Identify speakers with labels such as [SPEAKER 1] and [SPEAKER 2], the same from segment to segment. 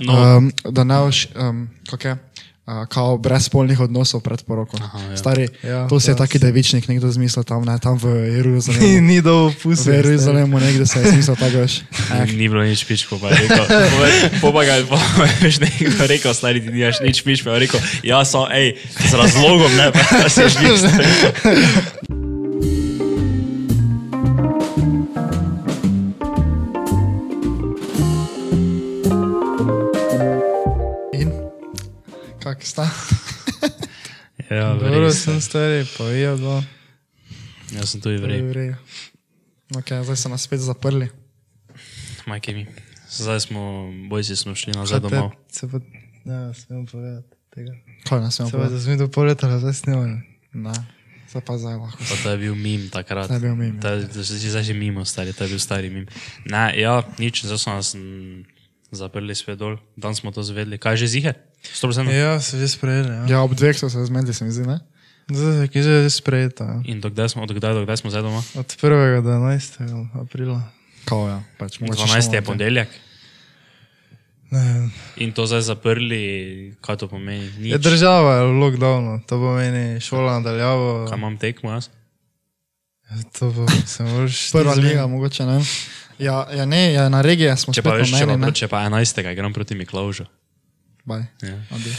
[SPEAKER 1] No.
[SPEAKER 2] um, da ne boš, um, kako je, uh, kao brezpolnih odnosov pred poroko. Aha,
[SPEAKER 1] ja.
[SPEAKER 2] Stari, ja,
[SPEAKER 3] Ja,
[SPEAKER 2] to si je
[SPEAKER 3] ja,
[SPEAKER 2] taki devičnik nekdo zmislil tam, ne, tam v
[SPEAKER 3] Ni,
[SPEAKER 2] Jeruzalemu.
[SPEAKER 3] ni dol
[SPEAKER 2] V
[SPEAKER 3] pusti.
[SPEAKER 2] Jeruzalemu nekdo se je zmislil, tako veš.
[SPEAKER 1] Ni bilo nič pičko, pa je rekel, pomagal, pa je veš nekdo rekel, stari ti nimaš nič pičko, pa je rekel, ja sem, ej, z razlogom ne, pa se žviš.
[SPEAKER 2] In kak sta?
[SPEAKER 1] Ja,
[SPEAKER 3] Dobro,
[SPEAKER 1] verjetno.
[SPEAKER 3] sem stari, pa je dva.
[SPEAKER 1] Jaz Ja, sem tudi verjetno.
[SPEAKER 2] Vrej. Okay, zdaj so nas spet zaprli.
[SPEAKER 1] Majke mi. Zdaj smo, boj si smo šli nazaj
[SPEAKER 3] Kaj te-
[SPEAKER 1] domov.
[SPEAKER 3] Se pa, ne, smem povedati tega.
[SPEAKER 2] Kaj nas imamo?
[SPEAKER 3] Se No, pa, da smo do poletala, zdaj snemali.
[SPEAKER 2] Ne, zdaj pa zdaj lahko.
[SPEAKER 1] Pa to je bil mim takrat.
[SPEAKER 2] To je bil mem, ja.
[SPEAKER 1] Ta, to si zdaj že mimo, stari, to je bil stari mim. Ne, ja, nič, zdaj so nas m, zaprli svet dol, dan smo to zvedeli. Kaj je že zihe? 100%.
[SPEAKER 3] Ja, se že sprejeli. Ja.
[SPEAKER 2] Ja, ob dveh so se zmedli, se mi zdi, ne?
[SPEAKER 3] Zdaj je že sprejeta. ja.
[SPEAKER 1] In dokdaj smo, odkdaj, dokdaj smo zdaj doma?
[SPEAKER 3] Od 1. do 11. aprila.
[SPEAKER 2] Kao ja, pač mogoče.
[SPEAKER 1] 12. je
[SPEAKER 2] samo-
[SPEAKER 1] ponedeljek.
[SPEAKER 3] Ne vem.
[SPEAKER 1] In to zdaj zaprli, kaj to pomeni?
[SPEAKER 2] Ja,
[SPEAKER 3] Je
[SPEAKER 1] Nič.
[SPEAKER 3] država je v lockdownu, to pomeni šola nadaljavo.
[SPEAKER 1] Kaj imam tekmo jaz?
[SPEAKER 3] To bo, se moraš. ti
[SPEAKER 2] Prva
[SPEAKER 3] zmeniti.
[SPEAKER 2] liga, mogoče ne. Ja, ja ne, ja, na regije smo
[SPEAKER 1] Če
[SPEAKER 2] spet
[SPEAKER 1] pa, veš, če, pa,
[SPEAKER 2] omenili, ne.
[SPEAKER 1] pro- če pa 11. gram proti Miklaužu.
[SPEAKER 2] Baj.
[SPEAKER 1] Ja.
[SPEAKER 2] Adijo.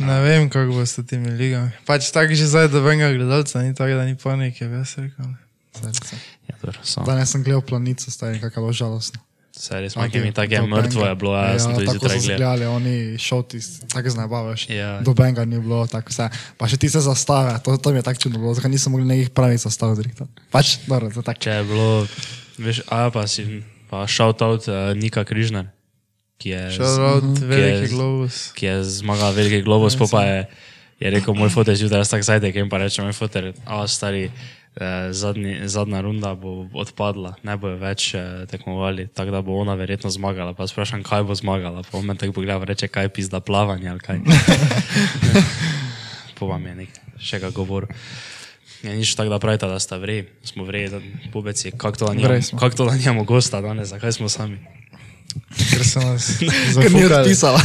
[SPEAKER 3] Ne vem, kako bo s temi ligami. Pač tako že zdaj, da venga gledalca, ni tako, da ni panike, veš, rekel.
[SPEAKER 2] Srce.
[SPEAKER 1] Ja, dobro, samo.
[SPEAKER 2] Danes sem gledal planico, stari, kakšno je žalostno.
[SPEAKER 1] Saj res,
[SPEAKER 2] Taki-
[SPEAKER 1] majke mi, tako je
[SPEAKER 2] do
[SPEAKER 1] mrtvo
[SPEAKER 2] benga.
[SPEAKER 1] je bilo, ja, jaz sem tudi
[SPEAKER 2] tako
[SPEAKER 1] zjutraj
[SPEAKER 2] so
[SPEAKER 1] gledal.
[SPEAKER 2] zgledali, oni šoti, s- tako znabavaš.
[SPEAKER 1] Ja.
[SPEAKER 2] Dobenega ni bilo, tako vse. Pa še ti se zastave, to, to mi je tako čudno bilo, zakaj nisem mogel nekih pravih zastav zrihtati. Pač, dobro, to je tako.
[SPEAKER 1] Če je bilo, veš, a pa si, pa shout out uh, Nika Križnar, ki je, z-
[SPEAKER 3] Šarot,
[SPEAKER 1] Kje-
[SPEAKER 3] veliki globus.
[SPEAKER 1] ki je zmagal veliki globus, pa pa je, je rekel, moj fotelj zjutraj, jaz tak zajdek in pa reče, moj fotelj, a stari, eh, zadnji, zadnja runda bo odpadla, ne bojo več eh, tekmovali, tako da bo ona verjetno zmagala, pa sprašujem, kaj bo zmagala, pa on me tako pogleda, pa reče, kaj pizda plavanje ali kaj. po vam je nekaj, še ga govor. Ja, nič tako da pravite, da ste vrej, smo vrej, da pubeci, kako to, da nimamo-
[SPEAKER 2] Vrej smo.
[SPEAKER 1] kako to, da nimamo gosta danes, zakaj smo sami?
[SPEAKER 3] Ker sem nas
[SPEAKER 2] Ker ni
[SPEAKER 3] zafukali.
[SPEAKER 2] odpisala.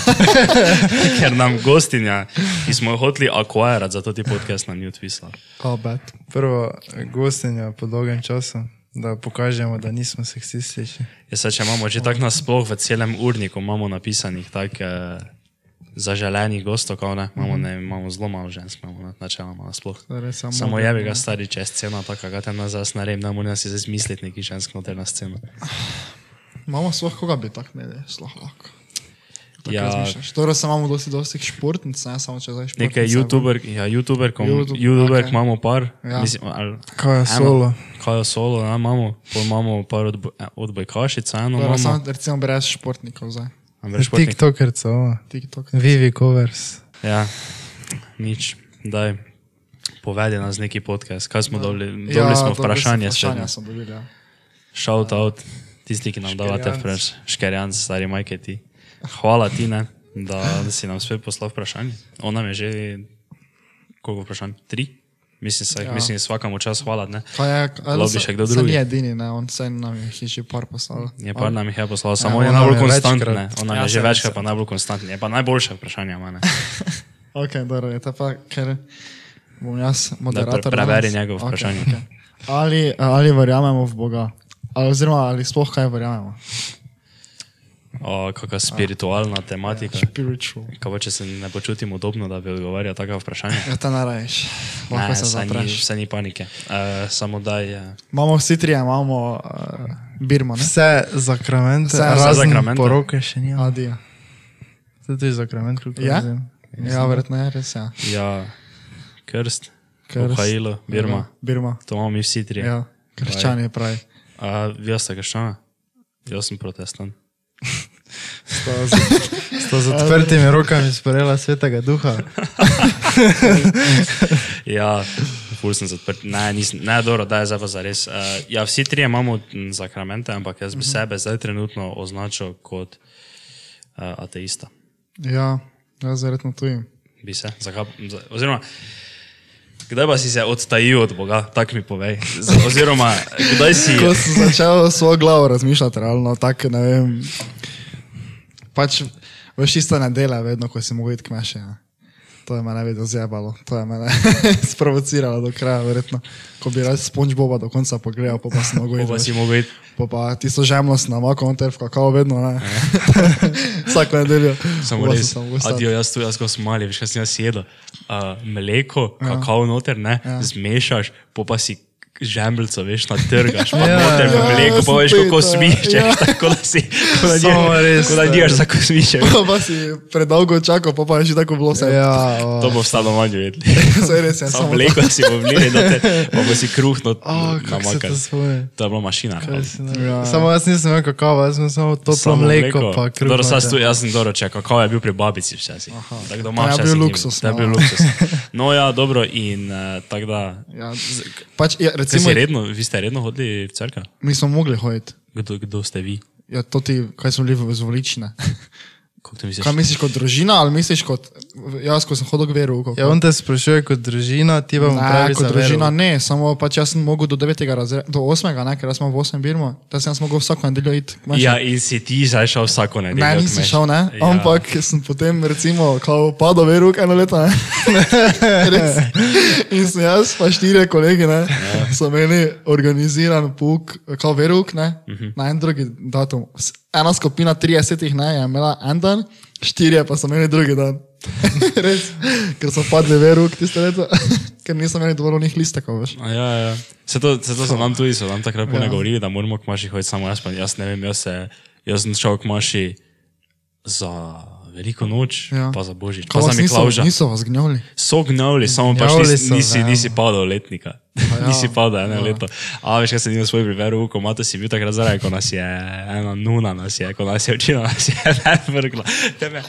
[SPEAKER 1] Ker nam gostinja, ki smo jo hoteli akvarirati, zato ti podcast nam ni odpisala.
[SPEAKER 2] Oh, bad.
[SPEAKER 3] Prvo gostinja po dolgem času, da pokažemo, da nismo seksistični.
[SPEAKER 1] Jaz se, Ja, če imamo že tako nasploh v celem urniku, imamo napisanih tako eh, zaželenih gostov, kao ne, imamo, ne, imamo zelo malo žensk, imamo načeloma nasploh.
[SPEAKER 2] Res, Mhm. ja, samo-
[SPEAKER 1] Samo je ga stari, če je scena taka, kaj te nazaj ne rem, da moram si zdaj zmisliti neki žensk noter na sceno.
[SPEAKER 2] Imamo sploh koga bi tak imeli, sploh lahko. Tako
[SPEAKER 1] Ja.
[SPEAKER 2] razmišljaš. Torej, se imamo dosti dostih športnic, ne samo če zdaj športnice.
[SPEAKER 1] Nekaj youtuber, ja, youtuber, kom,
[SPEAKER 2] YouTube,
[SPEAKER 1] YouTube, youtuber
[SPEAKER 2] ok.
[SPEAKER 1] okay. imamo par,
[SPEAKER 2] Ja.
[SPEAKER 1] ja. mislim, ali,
[SPEAKER 3] Kaj je solo?
[SPEAKER 1] Kaj je solo, ja, imamo, pol imamo par odboj, odbojkašic, eno
[SPEAKER 2] Torej,
[SPEAKER 1] imamo.
[SPEAKER 2] samo recimo brez športnikov zdaj.
[SPEAKER 1] A veš, športnik-
[SPEAKER 3] TikTokerca, ova.
[SPEAKER 2] TikTok.
[SPEAKER 3] Vivi covers.
[SPEAKER 1] Ja, nič, daj. Povedi nas neki podcast, kaj smo dobili. Dobili
[SPEAKER 2] Ja,
[SPEAKER 1] smo
[SPEAKER 2] dobili Vprašanja
[SPEAKER 1] vprašanje, vprašanje.
[SPEAKER 2] smo dobili, ja.
[SPEAKER 1] shout out tisti, ki nam davate
[SPEAKER 3] Škerjanc.
[SPEAKER 1] vprašanje. Škerjanc, stari majke ti. Hvala ti, ne, da si nam spet poslal vprašanje. On nam je že, koliko vprašanj? Tri? Mislim, saj,
[SPEAKER 2] Ja.
[SPEAKER 1] ja. mislim svakamo čas hvala, ne.
[SPEAKER 2] Kaj je, ali
[SPEAKER 1] Lobi
[SPEAKER 2] se-
[SPEAKER 1] še kdo
[SPEAKER 2] se
[SPEAKER 1] drugi?
[SPEAKER 2] Ni edini, ne, on se nam je jih je že par poslal.
[SPEAKER 1] Je pa nam jih je poslal, samo
[SPEAKER 3] on
[SPEAKER 1] ja, je
[SPEAKER 3] nam
[SPEAKER 1] najbolj
[SPEAKER 3] je
[SPEAKER 1] konstanten. ne.
[SPEAKER 3] večkrat.
[SPEAKER 1] On nam
[SPEAKER 3] Ja,
[SPEAKER 1] je že
[SPEAKER 3] saj,
[SPEAKER 1] večkrat, pa najbolj konstanten. Je pa najboljše vprašanje, ima, ne.
[SPEAKER 2] Ok, dobro, je to pa, ker bom jaz moderator.
[SPEAKER 1] pre- preveri
[SPEAKER 2] danes.
[SPEAKER 1] njegovo
[SPEAKER 2] Okej,
[SPEAKER 1] vprašanje.
[SPEAKER 2] okej. Ali, ali verjamemo v Boga? Ali, oziroma, ali sploh kaj verjamemo?
[SPEAKER 1] O, kakšna spiritualna tematika.
[SPEAKER 2] Spiritual.
[SPEAKER 1] Kaj pa, če se ne počutim udobno, da bi odgovarjal taka vprašanja?
[SPEAKER 2] Ja, to naraješ. Lahko
[SPEAKER 1] Ne,
[SPEAKER 2] se
[SPEAKER 1] saj ni,
[SPEAKER 2] zapraš.
[SPEAKER 1] saj ni panike. Uh, samo daj. Uh,
[SPEAKER 2] Imamo vsi trije, imamo uh, Birmo, ne?
[SPEAKER 3] Vse zakramente,
[SPEAKER 2] Vse
[SPEAKER 3] razen
[SPEAKER 1] zakramente.
[SPEAKER 3] poroke še ni.
[SPEAKER 2] Adijo.
[SPEAKER 3] Tudi zakrament, kljub
[SPEAKER 2] Ja? Ja, verjetno je res, ja.
[SPEAKER 1] ja, krst,
[SPEAKER 2] Krst.
[SPEAKER 1] Ohajilo, Birma.
[SPEAKER 2] Birma.
[SPEAKER 1] To imamo mi vsi trije.
[SPEAKER 2] Ja, krščani pravi.
[SPEAKER 1] Uh, jaz sem krščan, jaz sem protestant.
[SPEAKER 3] Sta z odprtimi rokami sprejela svetega duha.
[SPEAKER 1] Ja, ful sem zaprt. Ne, nisem, ne, dobro, da je zdaj pa zares. Uh, ja, vsi trije imamo m, zakramente, ampak jaz bi uh
[SPEAKER 2] Mhm.
[SPEAKER 1] -huh. sebe zdaj trenutno označil kot uh, ateista.
[SPEAKER 2] Ja, jaz verjetno tujim.
[SPEAKER 1] Bi se, zakaj, za- oziroma, kdaj pa si se odtajil od Boga, tako mi povej. Z- Oziroma, kdaj si.
[SPEAKER 2] Ko sem začel s svojo glavo razmišljati, realno, tako ne vem. Pač veš isto ne dela, vedno, ko si mogel iti kmeše. Ja. To je mene vedno zjebalo, to je mene sprovociralo do kraja, verjetno. Ko bi rad SpongeBoba do konca pogledal, pa, pa sem mogel
[SPEAKER 1] Ko pa
[SPEAKER 2] iti.
[SPEAKER 1] si
[SPEAKER 2] veš.
[SPEAKER 1] mogel iti,
[SPEAKER 2] Pa, pa tisto žemnost na mako, on terf, kako vedno, ne. Vsako nedeljo.
[SPEAKER 1] samo
[SPEAKER 2] Pa sem
[SPEAKER 1] res,
[SPEAKER 2] samo mogel stati.
[SPEAKER 1] adijo, jaz tu, jaz ko sem mali, veš, kaj sem jaz jedel, uh, mleko, kakao noter, ne, ja. zmešaš, po pa si žembljico, veš, natrgaš, pa ja,
[SPEAKER 3] Ja,
[SPEAKER 1] noter v
[SPEAKER 3] ja,
[SPEAKER 1] mleko, pa veš, kako
[SPEAKER 2] spet, ja.
[SPEAKER 1] smiščeš, ja.
[SPEAKER 2] Ja.
[SPEAKER 1] tako da si, tako da
[SPEAKER 3] Samo
[SPEAKER 1] dijaš,
[SPEAKER 3] res,
[SPEAKER 1] tako da
[SPEAKER 3] ja.
[SPEAKER 1] dijaš, tako smiščeš.
[SPEAKER 2] Pa, pa si predolgo čakal, pa, pa je že tako bilo vse.
[SPEAKER 3] Ja, o,
[SPEAKER 1] To bo vstalo manj jedli.
[SPEAKER 2] Saj res, ja,
[SPEAKER 1] Samo
[SPEAKER 2] samo
[SPEAKER 1] mleko si bo vlili, noter, pa bo si kruhno
[SPEAKER 3] o, Ah, kako se
[SPEAKER 1] namakal.
[SPEAKER 3] to spomnim.
[SPEAKER 1] To je bila mašina.
[SPEAKER 3] Kaj si ne-
[SPEAKER 2] Ja.
[SPEAKER 3] Samo jaz nisem imel kakava, jaz sem samo toplo
[SPEAKER 1] Samo
[SPEAKER 3] mleko, pa kruh.
[SPEAKER 1] Dobro,
[SPEAKER 3] noter.
[SPEAKER 1] sad tu, jaz sem dobro čakal, kako je bil pri babici včasih. Tako doma
[SPEAKER 2] To je
[SPEAKER 1] včasih
[SPEAKER 2] Ja, bil
[SPEAKER 1] ni
[SPEAKER 2] luksuz,
[SPEAKER 1] To je bil
[SPEAKER 2] no.
[SPEAKER 1] luksus. No ja, dobro in uh, tako da.
[SPEAKER 2] Ja, pač, ja,
[SPEAKER 1] Kaj si
[SPEAKER 2] recimo,
[SPEAKER 1] redno, vi ste redno hodili v cerkev?
[SPEAKER 2] mi smo mogli hoditi.
[SPEAKER 1] Kdo, kdo ste vi?
[SPEAKER 2] Ja, to ti, kaj smo bili v zvolične.
[SPEAKER 1] Kako to misliš?
[SPEAKER 2] Kaj misliš kot družina ali misliš kot jaz, ko sem hodil k veru? Kako?
[SPEAKER 3] Ja, on te sprašuje kot družina, ti pa mu
[SPEAKER 2] Ne,
[SPEAKER 3] praviš,
[SPEAKER 2] kot družina ne, samo pač jaz sem mogel do 9. razreda, do 8. ne, ker jaz imam 8 birmo, da sem jaz mogel vsako nedeljo iti. k maši.
[SPEAKER 1] Ja, in si ti zdaj šel vsako nedeljo.
[SPEAKER 2] Ne,
[SPEAKER 1] k
[SPEAKER 2] nisem
[SPEAKER 1] meši.
[SPEAKER 2] šel, ne,
[SPEAKER 1] Ja.
[SPEAKER 2] ja. ampak sem potem recimo kao padal v rok eno leto, ne. Res. In sem jaz, pa štirje kolegi, ne, ja. so imeli organiziran puk, kao veruk, ne, uh -huh. na en drugi datum. S- Ena skupina 30 ne, je imela en dan, štirje pa so imeli drugi dan. Res, ker so padli veruk tiste leto, ker nisem imel dovolj onih listekov, veš.
[SPEAKER 1] A Ja, ja. Se to, se to so nam tudi, so nam takrat ja. govorili, da moramo k maši hoditi samo jaz, pa jaz ne vem, jaz, se, jaz sem šel k maši za veliko noč, ja.
[SPEAKER 2] Ja.
[SPEAKER 1] pa za božič, pa
[SPEAKER 2] Kaj
[SPEAKER 1] za
[SPEAKER 2] vas niso,
[SPEAKER 1] Miklauža.
[SPEAKER 2] niso vas gnjavili?
[SPEAKER 1] So gnavili, samo pač
[SPEAKER 3] Gnjavili
[SPEAKER 1] nisi,
[SPEAKER 3] so,
[SPEAKER 1] nisi,
[SPEAKER 3] ja.
[SPEAKER 1] nisi padal letnika. Ja,
[SPEAKER 2] ja.
[SPEAKER 1] nisi padal eno ja. leto. A veš, kaj sem imel svoj primer, ko mata si bil takrat zaraj, ko nas je ena nuna, nas je, ko nas je učila, nas je ena vrgla. Te me,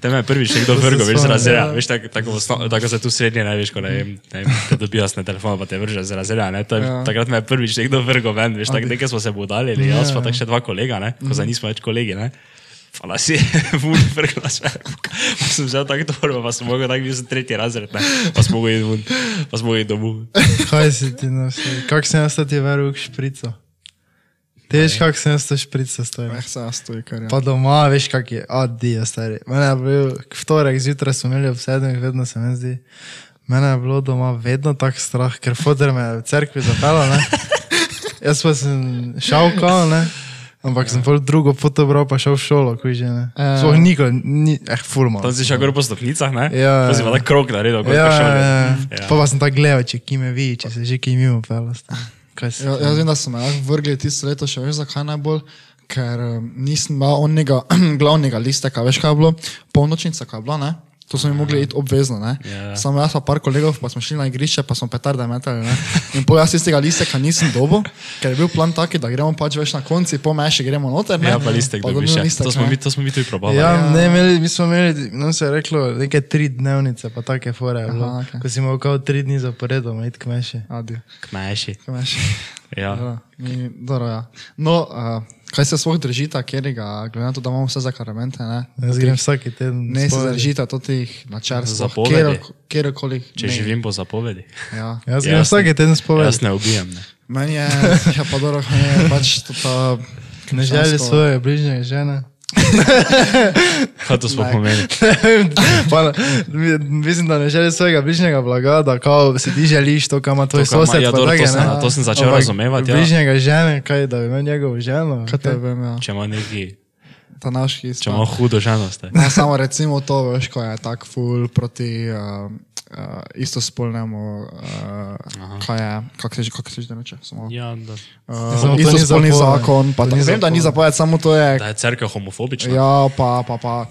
[SPEAKER 1] te me je prvič je kdo vrgel, veš, z
[SPEAKER 3] spomnim,
[SPEAKER 1] razreda. Ja, Veš, tako, tako, osno- tako se tu srednje ne veš, ko ne vem, ne vem te dobivaš na telefon, pa te vrže z razreda. Ne, to je, ja. Takrat me je prvič nekdo vrgel ven, veš, tako nekaj smo se budalili, jaz pa tako še dva kolega, ne, ko zdaj nismo več kolegi. Ne. Pa nas je vun vrgla smer. Pa sem vzel tako torbo, pa sem mogel tako bil sem tretji razred, ne. pa sem mogel iti vun, pa sem mogel iti domov.
[SPEAKER 3] Kaj si ti nosil? Kako sem jaz ti veril v šprico? Ti veš, kako sem jaz to šprico
[SPEAKER 2] Eh,
[SPEAKER 3] stojil?
[SPEAKER 2] se jaz to je kar. Ja.
[SPEAKER 3] Pa doma, veš, kak je, adijo, stari. Mene je bil, k vtorek zjutraj smo imeli ob sedmih, vedno se mi zdi. Mene je bilo doma vedno tako strah, ker fotor me je v cerkvi zapeljal, ne. Jaz pa sem šel kao, ne. Ampak
[SPEAKER 1] Ja.
[SPEAKER 3] sem pol drugo fotobral, pa šel v šolo, kuj že ne.
[SPEAKER 2] Ja.
[SPEAKER 3] Sploh nikoli, ni, eh, fulmo.
[SPEAKER 1] Tam si šel gor po stopnicah, ne?
[SPEAKER 3] Ja,
[SPEAKER 1] Pa si
[SPEAKER 3] ja.
[SPEAKER 1] pa tako krok naredil, kot
[SPEAKER 3] Ja,
[SPEAKER 1] ja, šel.
[SPEAKER 3] ja,
[SPEAKER 1] ne?
[SPEAKER 3] ja.
[SPEAKER 1] Ja.
[SPEAKER 3] Pa pa sem tako gledal, če ki me vidi, če se že ki mimo pelas. Kaj si?
[SPEAKER 2] Ja, jaz vem, da so me lahko vrgli tisto leto, še veš zakaj najbolj, ker um, nisem imel onega glavnega listeka, veš kaj je bilo, polnočnica, kaj je bilo, ne? To smo jim mogli iti obvezno, ne?
[SPEAKER 1] Ja.
[SPEAKER 2] Samo jaz pa par kolegov, pa smo šli na igrišče, pa smo petarde metali, ne? In pol jaz iz tega listeka nisem dobil, ker je bil plan taki, da gremo pač več na konci, po meši gremo noter, ne?
[SPEAKER 1] Ja, pa listek dobiš.
[SPEAKER 2] dobim
[SPEAKER 1] ja.
[SPEAKER 2] listek,
[SPEAKER 1] To smo
[SPEAKER 2] ne.
[SPEAKER 1] mi, to smo mi tudi probali. Ja.
[SPEAKER 3] Ja, ne, imeli, mi smo imeli, nam se je reklo, neke tri dnevnice, pa take fore. je bilo.
[SPEAKER 2] Aha, okej.
[SPEAKER 3] Ko si imel kao tri dni zaporedoma, itk meše.
[SPEAKER 2] Adijo,
[SPEAKER 1] Kmeši.
[SPEAKER 2] kaj imaš?
[SPEAKER 1] Ja.
[SPEAKER 2] Ja, mi, dobro, ja. No, uh, kaj se svoj držita, kjerega, glede na to, da imamo vse za karamente, ne?
[SPEAKER 3] Jaz grem vsaki teden.
[SPEAKER 2] Ne se
[SPEAKER 3] spovedi.
[SPEAKER 2] držite totih načel,
[SPEAKER 1] Zapovedi.
[SPEAKER 2] kjerkoli.
[SPEAKER 1] Če
[SPEAKER 2] ne.
[SPEAKER 1] živim po zapovedi.
[SPEAKER 2] Ja.
[SPEAKER 3] Jaz
[SPEAKER 1] Ja,
[SPEAKER 3] grem vsaki teden spoved.
[SPEAKER 1] Jaz ne ubijem. Ne.
[SPEAKER 2] Meni je, ja, pa dobro, meni je pač to ta.
[SPEAKER 3] Ne želi
[SPEAKER 2] krščansko-
[SPEAKER 3] svoje bližnje žene.
[SPEAKER 1] Kaj to sploh
[SPEAKER 2] Ne.
[SPEAKER 1] pomeni?
[SPEAKER 3] pa, ne- mi- mislim, da ne želi svojega bližnjega blaga, da kao si ti želiš to, kar ima tvoj
[SPEAKER 1] To, kar ima-
[SPEAKER 3] sosed.
[SPEAKER 1] ja,
[SPEAKER 3] pa
[SPEAKER 1] dobro, to
[SPEAKER 3] take,
[SPEAKER 1] sem-
[SPEAKER 3] ne.
[SPEAKER 1] to sem začel
[SPEAKER 3] Ampak
[SPEAKER 1] razumevati, ja.
[SPEAKER 3] Bližnjega žene, kaj da bi imel njegovo ženo.
[SPEAKER 2] Kaj te
[SPEAKER 3] kaj?
[SPEAKER 2] vem, ja.
[SPEAKER 1] Če ima neki,
[SPEAKER 2] Ta naš his.
[SPEAKER 1] če ima hudo žalost. ne.
[SPEAKER 2] No, samo recimo to, veš, ko je tak ful proti uh, uh, istospolnemu, uh, kaj je, kako se že, kako se že reče, samo.
[SPEAKER 1] Ja, da.
[SPEAKER 3] Samo to
[SPEAKER 2] Uh,
[SPEAKER 3] ni
[SPEAKER 2] istospolni
[SPEAKER 3] zapoved.
[SPEAKER 2] zakon, pa
[SPEAKER 3] To
[SPEAKER 2] ta,
[SPEAKER 3] ni
[SPEAKER 2] vem, da ni zapoved,
[SPEAKER 3] zapoved.
[SPEAKER 2] samo to je,
[SPEAKER 1] Da je crkva homofobična.
[SPEAKER 2] ja, pa, pa, pa.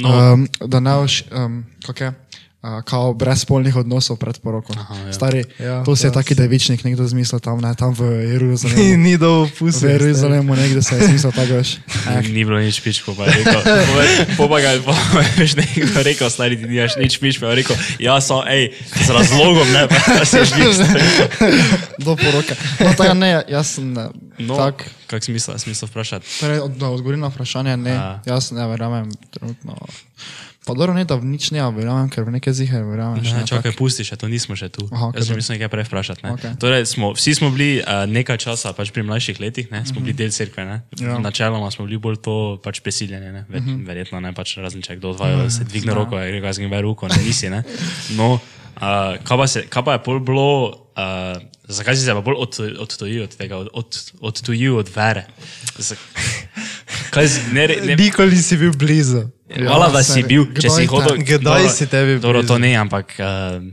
[SPEAKER 1] No,
[SPEAKER 2] um, da ne boš, um, kako je, uh, kao brezpolnih odnosov pred poroko.
[SPEAKER 1] ja.
[SPEAKER 2] Ja. Stari,
[SPEAKER 3] Ja,
[SPEAKER 2] ja, to si je
[SPEAKER 3] to je
[SPEAKER 2] taki devičnik nekdo zmislil tam, ne, tam v
[SPEAKER 3] Ni,
[SPEAKER 2] Jeruzalemu.
[SPEAKER 3] ni dovolj
[SPEAKER 2] V
[SPEAKER 3] pusti.
[SPEAKER 2] Jeruzalemu nekdo se je zmislil tako veš.
[SPEAKER 1] um, ni bilo nič pič, ko pa je rekel. Pomaga je, pa veš, nekdo je rekel, stari ti nimaš nič pič, pa je rekel, ja, samo, ej, z razlogom, ne, pa si že.
[SPEAKER 2] Do poroke. No, tega ne, jaz sem, eh,
[SPEAKER 1] No,
[SPEAKER 2] Tako.
[SPEAKER 1] Kak smisla, smisla vprašati?
[SPEAKER 2] Torej, od, da odgovorim na vprašanje, ne,
[SPEAKER 1] A.
[SPEAKER 2] A. jaz ne verjamem trenutno. Pa dobro, ne, da v nič ne verjamem, ker v neke zihar verjamem. še
[SPEAKER 1] Ne,
[SPEAKER 2] ne,
[SPEAKER 1] čakaj, pusti še, to nismo še tu.
[SPEAKER 2] Aha,
[SPEAKER 1] Aha,
[SPEAKER 2] okej,
[SPEAKER 1] Jaz sem
[SPEAKER 2] dobro.
[SPEAKER 1] mislil nekaj prej vprašati. Ne?
[SPEAKER 2] Okej.
[SPEAKER 1] Okay. Torej, smo, vsi smo bili uh, nekaj časa, pač pri mlajših letih, ne? smo bili del cerkve. Ne? Ja. Načeloma smo bili bolj to pač prisiljeni, ne? Ver, mm -hmm. verjetno ne, pač razen če kdo od vaju se dvigne roko, je rekel, jaz gim roko, ne nisi. Ne? No, uh, kaj, pa se, kaj pa je pol bilo, uh, zakaj si se pa bolj odtujil od, odtujil od tega, odtujil od, od, odtujil od vere? Z, kaj, z- ne, re- E, ne, E,
[SPEAKER 3] Nikoli si bil blizu.
[SPEAKER 1] Hvala, da si
[SPEAKER 2] saj,
[SPEAKER 1] bil, če
[SPEAKER 2] kdaj
[SPEAKER 1] si
[SPEAKER 2] ta-
[SPEAKER 1] hodil.
[SPEAKER 3] Ja, kdaj
[SPEAKER 1] Dobro,
[SPEAKER 3] si tebi
[SPEAKER 1] Dobro, to
[SPEAKER 3] blizu?
[SPEAKER 1] ne, ampak. Uh,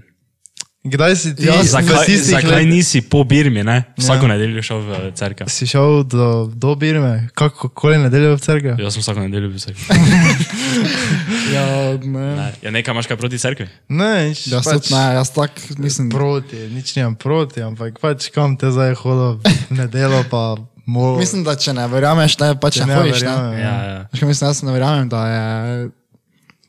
[SPEAKER 3] Kdaj si ti
[SPEAKER 2] Ja,
[SPEAKER 3] v
[SPEAKER 1] Zakaj,
[SPEAKER 3] tistih
[SPEAKER 1] zakaj
[SPEAKER 3] letih-
[SPEAKER 1] nisi po Birmi, ne? Vsako ja. nedeljo šel v eh, cerkev.
[SPEAKER 3] Si šel do, do Birme, kako koli nedeljo v cerkev?
[SPEAKER 1] Jaz sem vsako nedeljo bil v cerkvi.
[SPEAKER 2] Ja, ne.
[SPEAKER 1] Ja, nekaj imaš kaj proti cerkvi?
[SPEAKER 3] Ne, nič,
[SPEAKER 2] Jaz, pač, ne, jaz tak mislim.
[SPEAKER 3] proti, nič nimam proti, ampak pač kam te zdaj hodo v nedeljo pa mol.
[SPEAKER 2] Mislim, da če ne verjameš, ne, pač
[SPEAKER 3] da
[SPEAKER 2] ne, ne hojiš. Ne.
[SPEAKER 1] Ja, ja.
[SPEAKER 2] Veš, kaj mislim, jaz ne verjamem, da je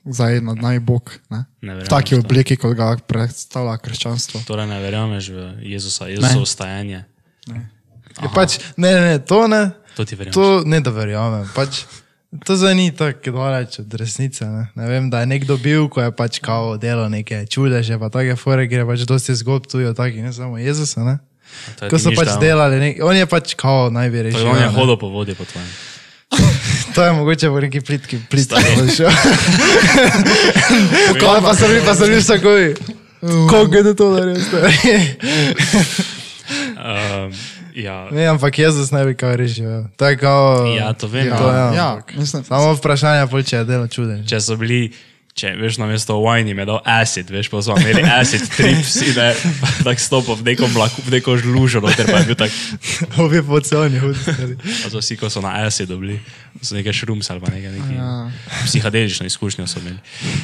[SPEAKER 2] zajedno nad nami Bog. Ne?
[SPEAKER 1] Ne verjamem
[SPEAKER 2] v taki
[SPEAKER 1] v to.
[SPEAKER 2] obliki, kot ga predstavlja krščanstvo.
[SPEAKER 1] Torej ne verjameš v Jezusa, Jezusovo stajanje.
[SPEAKER 3] Je pač, ne, ne, ne, to ne,
[SPEAKER 1] To ti verjamem.
[SPEAKER 3] to ne da verjamem. Pač, to zdaj ni tako daleč od resnice. Ne. ne vem, da je nekdo bil, ko je pač kao delo neke čudeže, pa take fore, ker je pač dosti zgodb tu, taki, ne samo Jezusa. Ne.
[SPEAKER 1] To je
[SPEAKER 3] Ko
[SPEAKER 1] ti
[SPEAKER 3] so
[SPEAKER 1] nič
[SPEAKER 3] pač
[SPEAKER 1] dal.
[SPEAKER 3] delali, nek, on je pač kao najbolj
[SPEAKER 1] Torej,
[SPEAKER 3] rešil.
[SPEAKER 1] On je
[SPEAKER 3] ne.
[SPEAKER 1] hodil po vodi po tvojem.
[SPEAKER 3] To je mogoče v neki plitki, plitki.
[SPEAKER 1] Stari.
[SPEAKER 3] Kaj pa so bili, pa so bili vsakovi. Koliko je to naredil? stari?
[SPEAKER 1] Um, ja,
[SPEAKER 3] Ne, ampak Jezus naj bi kao rešil. ja. To je kao...
[SPEAKER 1] ja, to vem.
[SPEAKER 3] To, ja.
[SPEAKER 1] Ja.
[SPEAKER 2] ja, mislim,
[SPEAKER 3] Samo vprašanje, pol, če je delo čuden.
[SPEAKER 1] Če so bili, če veš, na mesto wine jim je dal acid, veš, pa so imeli acid trips in je tako stopil v neko mlaku, v neko žlužo, noter pa je bil tak.
[SPEAKER 3] Ovi poceni hudi. stari.
[SPEAKER 1] Pa so vsi, ko so na acidu bili, so nekaj šrums ali pa nekaj, nekaj
[SPEAKER 2] Ja.
[SPEAKER 1] psihadelično izkušnjo so imeli.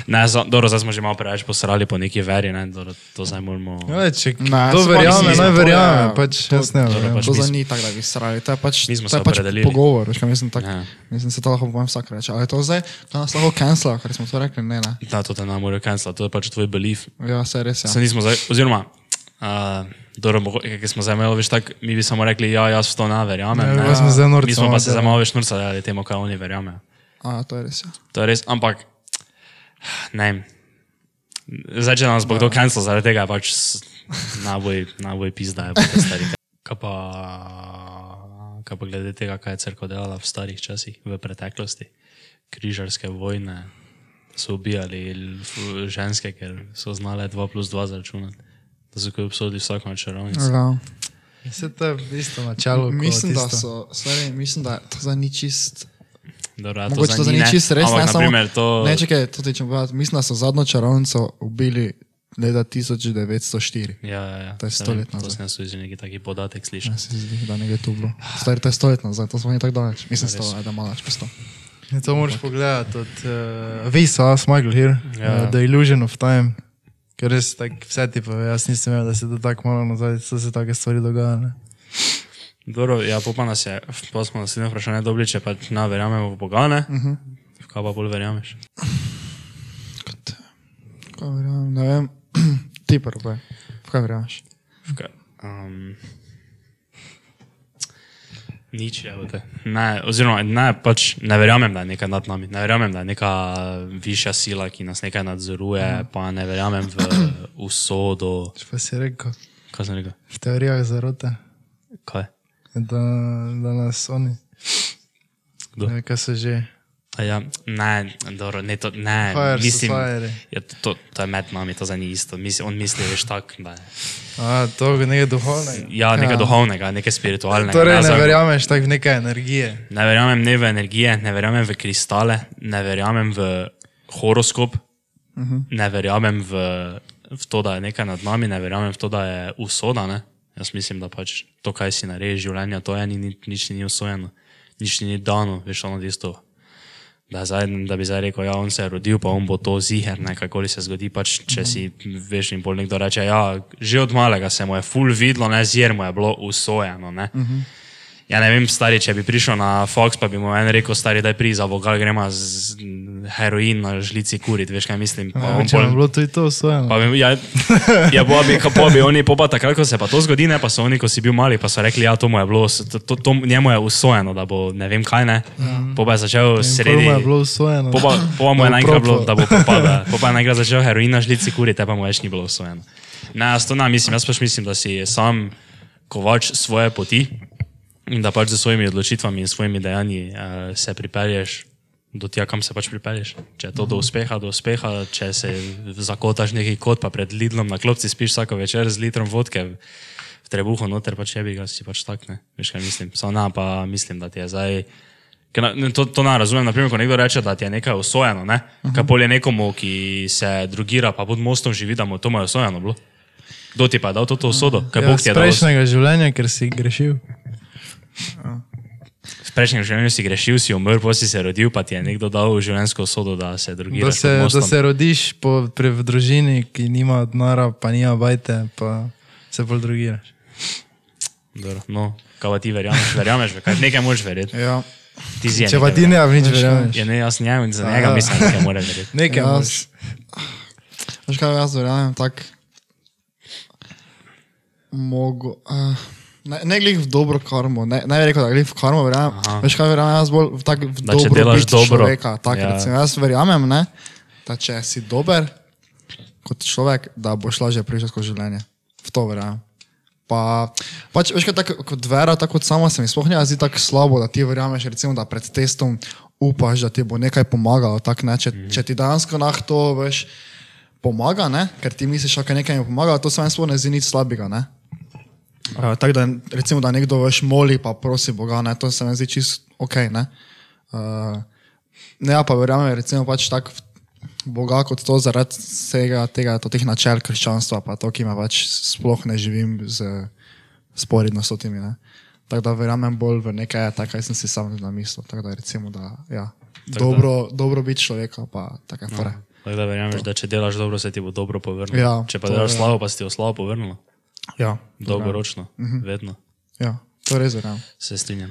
[SPEAKER 1] Ne, za, dobro, zdaj smo že malo preveč posrali po neki veri, ne, dobro, to zdaj moramo.
[SPEAKER 3] Ja, če
[SPEAKER 2] Ne, se
[SPEAKER 3] kdo
[SPEAKER 2] pa
[SPEAKER 3] verjame,
[SPEAKER 2] mislim,
[SPEAKER 3] naj
[SPEAKER 2] to
[SPEAKER 3] verjame.
[SPEAKER 2] je-
[SPEAKER 3] Pač, jaz ne
[SPEAKER 1] dobro,
[SPEAKER 3] verjamem.
[SPEAKER 1] pač
[SPEAKER 2] To
[SPEAKER 1] mi
[SPEAKER 2] za
[SPEAKER 1] smo-
[SPEAKER 2] ni tako, da bi srali. To je pač,
[SPEAKER 1] Mi smo
[SPEAKER 2] to je
[SPEAKER 1] se
[SPEAKER 2] pač
[SPEAKER 1] opredelili.
[SPEAKER 2] pogovor, veš, kaj mislim, tak,
[SPEAKER 1] Ja.
[SPEAKER 2] ja. mislim, se to lahko povem vsak reče. Ali je to zdaj, da nas lahko cancela, ker smo to rekli, ne, ne.
[SPEAKER 1] Da, to te ne more kancela, to je pač tvoj belief.
[SPEAKER 2] Ja, se res je.
[SPEAKER 1] Se nismo zdaj, oziroma, uh, dobro, mogo- kaj smo zdaj imeli, veš, tako mi bi samo rekli, ja, jaz v to ne verjamem.
[SPEAKER 3] Ja, jaz smo zdaj norca
[SPEAKER 1] Mi smo
[SPEAKER 3] malo
[SPEAKER 1] pa se zdaj
[SPEAKER 3] delali.
[SPEAKER 1] malo več norca dali temu, kaj oni verjamejo.
[SPEAKER 2] A, to je res. Ja.
[SPEAKER 1] To je res, ampak ne. vem. Zdaj, če nas bo
[SPEAKER 2] Ja.
[SPEAKER 1] kdo kancel zaradi tega, pač s- naboj, naboj pizda je pač stari. Kaj pa, kaj pa glede tega, kaj je crkva delala v starih časih, v preteklosti, križarske vojne. So ubijali l- f- ženske, ker so znale 2 plus 2 zračunati. Da so kot obsodili vsako na čarovnico.
[SPEAKER 2] Ja.
[SPEAKER 3] Vse to je isto načelo.
[SPEAKER 2] Mislim, da so, sorry, mislim, da to zdaj ni čist.
[SPEAKER 1] Dobro, ja,
[SPEAKER 2] Mogoče to zdaj ni
[SPEAKER 1] ne,
[SPEAKER 2] čist res,
[SPEAKER 1] ampak
[SPEAKER 2] ne
[SPEAKER 1] na
[SPEAKER 2] samo.
[SPEAKER 1] primer To...
[SPEAKER 2] Ne, čakaj, to ti čem povedati. Mislim, da so zadnjo čarovnico ubili leta 1904.
[SPEAKER 1] Ja, ja, ja.
[SPEAKER 2] To je
[SPEAKER 1] saj
[SPEAKER 2] sto
[SPEAKER 1] vem,
[SPEAKER 2] let
[SPEAKER 1] To
[SPEAKER 2] nazaj.
[SPEAKER 1] sem jaz tudi že neki taki podatek slišal.
[SPEAKER 2] Ja, se zdi, da nekaj tu bilo. Stari, to je stoletno, zato smo ni tako daleč. Mislim, da je to malo več posto.
[SPEAKER 3] Ne, to moraš pogledati od uh, Visa, us, Michael here,
[SPEAKER 1] Ja.
[SPEAKER 3] ja. uh, The Illusion of Time. Ker res tako vse ti pove, jaz nisem vedel, da se to tako malo nazaj, so se take stvari dogajale.
[SPEAKER 1] Dobro, ja, pa, pa nas je, pa smo naslednje vprašanje dobili, če pa ne verjamemo v Boga, ne? Uh
[SPEAKER 3] Mhm.
[SPEAKER 1] -huh. V kaj pa bolj verjameš?
[SPEAKER 2] Kot, kaj verjamem, ne vem, ti prvo, v kaj verjameš?
[SPEAKER 1] V kaj? Um, nič, evo te. Ne, oziroma, ne, pač ne verjamem, da je nekaj nad nami, ne verjamem, da je neka višja sila, ki nas nekaj nadzoruje,
[SPEAKER 3] Mhm.
[SPEAKER 1] pa ne verjamem v usodo.
[SPEAKER 3] Če pa si rekel,
[SPEAKER 1] Kaj sem rekel?
[SPEAKER 3] v teorijah zarote,
[SPEAKER 1] Kaj?
[SPEAKER 3] da, da nas oni,
[SPEAKER 1] Kdo?
[SPEAKER 3] ne, kaj so že,
[SPEAKER 1] A Ja, ne, dobro, ne, to, ne
[SPEAKER 3] Fire
[SPEAKER 1] mislim,
[SPEAKER 3] Society.
[SPEAKER 1] ja, to, to, to je med nami, to za ni isto. Mislim, on misli, veš, tako, da je.
[SPEAKER 3] a to je nekaj duhovnega.
[SPEAKER 1] Ja, nekaj ja. duhovnega, nekaj spiritualnega.
[SPEAKER 3] Torej ne
[SPEAKER 1] za-
[SPEAKER 3] verjameš tako v neke energije.
[SPEAKER 1] ne verjamem ne v energije, ne verjamem v kristale, ne verjamem v horoskop, uh
[SPEAKER 3] Mhm.
[SPEAKER 1] -huh. ne verjamem v, v to, da je nekaj nad nami, ne verjamem v to, da je usoda. Ne? Jaz mislim, da pač to, kaj si narediš življenja, to je ni, ni, nič ni usvojeno, nič ni dano, veš, ono tisto. Da, zdaj, da bi zdaj rekel, da ja, on se je rodil, pa on bo to ziger, kakorkoli se zgodi. Pač, če si veš, in bolj nekdo
[SPEAKER 3] Mhm.
[SPEAKER 1] reče, da ja, že od malega se mu je ful videlo, ne, ziger mu je bilo usvojeno. Uh -huh. Ja, ne vem, stari, če bi prišel na Fox, pa bi mu en rekel, stari, da je pri za vogal, gremo z heroin na žlici kurit, veš kaj mislim. Pa on
[SPEAKER 3] Ja, Če
[SPEAKER 1] pol-
[SPEAKER 3] bi bilo tudi to osvojeno.
[SPEAKER 1] Pa bi, ja, ja, bo bi, kako bi oni, pa pa takrat, ko se pa to zgodi, ne, pa so oni, ko si bil mali, pa so rekli, ja, to mu je bilo, s- to, to, to njemu je usvojeno, da bo ne vem kaj, ne. Pa pa je začel sredi.
[SPEAKER 3] Prvo Ja. je bilo usvojeno.
[SPEAKER 1] Po pa- po pa mu
[SPEAKER 3] Da
[SPEAKER 1] je
[SPEAKER 3] bo
[SPEAKER 1] naenkrat bilo,
[SPEAKER 3] proplo.
[SPEAKER 1] da bo popadal. Po pa je naenkrat začel heroin na žlici kuriti, te pa mu več ni bilo usvojeno. Ne, jaz to ne mislim, jaz pač mislim, da si sam kovač svoje poti in da pač z svojimi odločitvami in svojimi dejanji uh, se pripelješ do tja, kam se pač pripelješ. Če je to do uspeha, do uspeha, če se zakotaš neki kot, pa pred Lidlom na klopci spiš vsako večer z litrom vodke. V trebuhu noter pač je bi ga si pač tak, ne. Veš kaj mislim. Samo na pa mislim, da ti je zdaj. Ker na- ne, To, to ne razumem, naprimer, ko nekdo reče, da ti je nekaj osvojeno, ne? uh -huh. kaj polje nekomu, ki se drugira, pa pod mostom živi, da mu je to mu je osvojeno bilo. Kdo ti pa je dal to, to usodo? Kaj ja, Bog
[SPEAKER 3] iz
[SPEAKER 1] ti je dal?
[SPEAKER 3] prejšnjega življenja, ker si grešil.
[SPEAKER 1] V prejšnjem življenju si grešil, si umrl, pa si se rodil, pa ti je nekdo dal življenjsko usodo, da se
[SPEAKER 3] Da
[SPEAKER 1] drugiraš.
[SPEAKER 3] se,
[SPEAKER 1] pod
[SPEAKER 3] da
[SPEAKER 1] mostom.
[SPEAKER 3] se rodiš po, pri v družini, ki nima odnora, pa nima bajte, pa se bolj drugiraš.
[SPEAKER 1] Dobro, No, kaj pa ti verjameš? Verjameš, v kaj nekaj moraš verjeti.
[SPEAKER 2] Ja.
[SPEAKER 1] Ti si je
[SPEAKER 3] Če
[SPEAKER 1] nekaj
[SPEAKER 3] pa ti ne, v nič verjameš.
[SPEAKER 1] verjel. Ja, ne, jaz njemu in za njega mislim, da nekaj mora verjeti.
[SPEAKER 3] Nekaj
[SPEAKER 2] Jaz-
[SPEAKER 3] moraš.
[SPEAKER 2] Veš kaj, jaz verjamem tako. Mogo. Uh, ne, ne glih v dobro karmo, ne, ne bi rekel, da glih v karmo verjamem.
[SPEAKER 1] Aha.
[SPEAKER 2] Veš kaj, verjamem jaz bolj v tak v
[SPEAKER 1] Da, če
[SPEAKER 2] dobrobit
[SPEAKER 1] delaš dobro.
[SPEAKER 2] človeka. Tak,
[SPEAKER 1] Ja.
[SPEAKER 2] ja. recimo, jaz verjamem, ne, da če si dober kot človek, da boš lažje prišel skozi življenje. V to verjamem. Pa, pač, veš, kaj, tako kot vera, tako kot sama se mi sploh ne zdi tako slabo, da ti verjameš, recimo, da pred testom upaš, da ti bo nekaj pomagalo. Tak, ne? če,
[SPEAKER 1] Mhm.
[SPEAKER 2] če ti dejansko nah to veš, pomaga, ne? ker ti misliš, da nekaj mi pomaga, to se meni sploh ne zdi nič slabega. Ne? Uh, tako da, recimo, da nekdo veš moli, pa prosi Boga, ne? to se mi zdi čist ok. Ne, uh, ne ja, pa verjamem, recimo, pač tako v Boga kot to zaradi vsega tega, to teh načel krščanstva, pa to, ki ima pač sploh ne živim z sporedno s temi. Ne? Tako da verjamem bolj v nekaj, tako kaj sem si sam na misli. Tako da recimo, da ja,
[SPEAKER 1] da-
[SPEAKER 2] dobro, dobro biti človeka, pa tako je. No.
[SPEAKER 1] Tako da verjameš, da če delaš dobro, se ti bo dobro povrnilo.
[SPEAKER 2] Ja,
[SPEAKER 1] če pa
[SPEAKER 2] to
[SPEAKER 1] delaš
[SPEAKER 2] je.
[SPEAKER 1] slabo, pa se ti bo slabo povrnilo.
[SPEAKER 2] Ja,
[SPEAKER 1] Dolgoročno,
[SPEAKER 3] Mhm.
[SPEAKER 1] vedno.
[SPEAKER 2] ja, to res verjamem.
[SPEAKER 1] Se strinjam.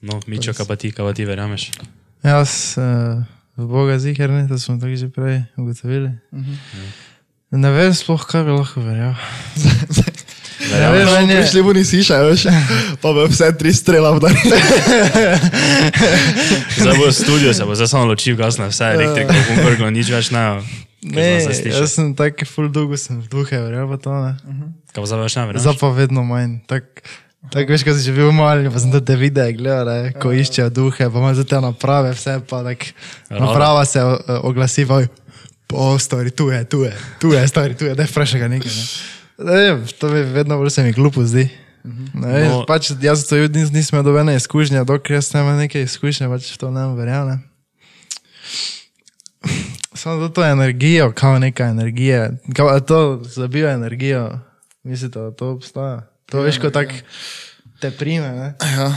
[SPEAKER 1] No, Mičo, kaj pa ti, kaj pa ti verjameš?
[SPEAKER 3] Jaz, eh, v Boga zihar ne, to smo tako že prej ugotovili.
[SPEAKER 1] Mhm.
[SPEAKER 3] Ne vem sploh, kaj bi lahko verjel. Ne vem,
[SPEAKER 2] Če
[SPEAKER 3] meni
[SPEAKER 2] bi
[SPEAKER 3] je-
[SPEAKER 2] šli buni siša, veš, pa bi vse tri strela vdali.
[SPEAKER 1] Zdaj bo studio, se bo zdaj samo ločil, gasna vse elektrika, bom vrgel, nič več ne.
[SPEAKER 3] Ne,
[SPEAKER 1] Kaj
[SPEAKER 3] jaz sem tako ful dolgo sem v duhe verjel, pa to ne.
[SPEAKER 1] pa zdaj več ne verjameš?
[SPEAKER 3] Zdaj pa vedno manj. Tak, Tako veš, ko si že bil mali, pa sem te videe gledal, ne, ko iščejo duhe, pa imaš za te naprave, vse pa tako.
[SPEAKER 1] Rada.
[SPEAKER 3] Naprava se eh, oglasi, pa po stvari, tu je, tu je, tu je, stvari, tu je, da je vprašaj nekaj. Ne. Ne vem, to mi vedno bolj se mi glupo zdi. Ne Vem,
[SPEAKER 1] No.
[SPEAKER 3] no. pač, jaz to judi nisem imel dobene izkušnje, dokler jaz ne imam neke izkušnje, pač to ne verjamem. Samo za to energijo, kao neka energija, kao, a to zabiva energijo, mislite, da to obstaja. To veš, ko tako te prime, ne?
[SPEAKER 2] Ja.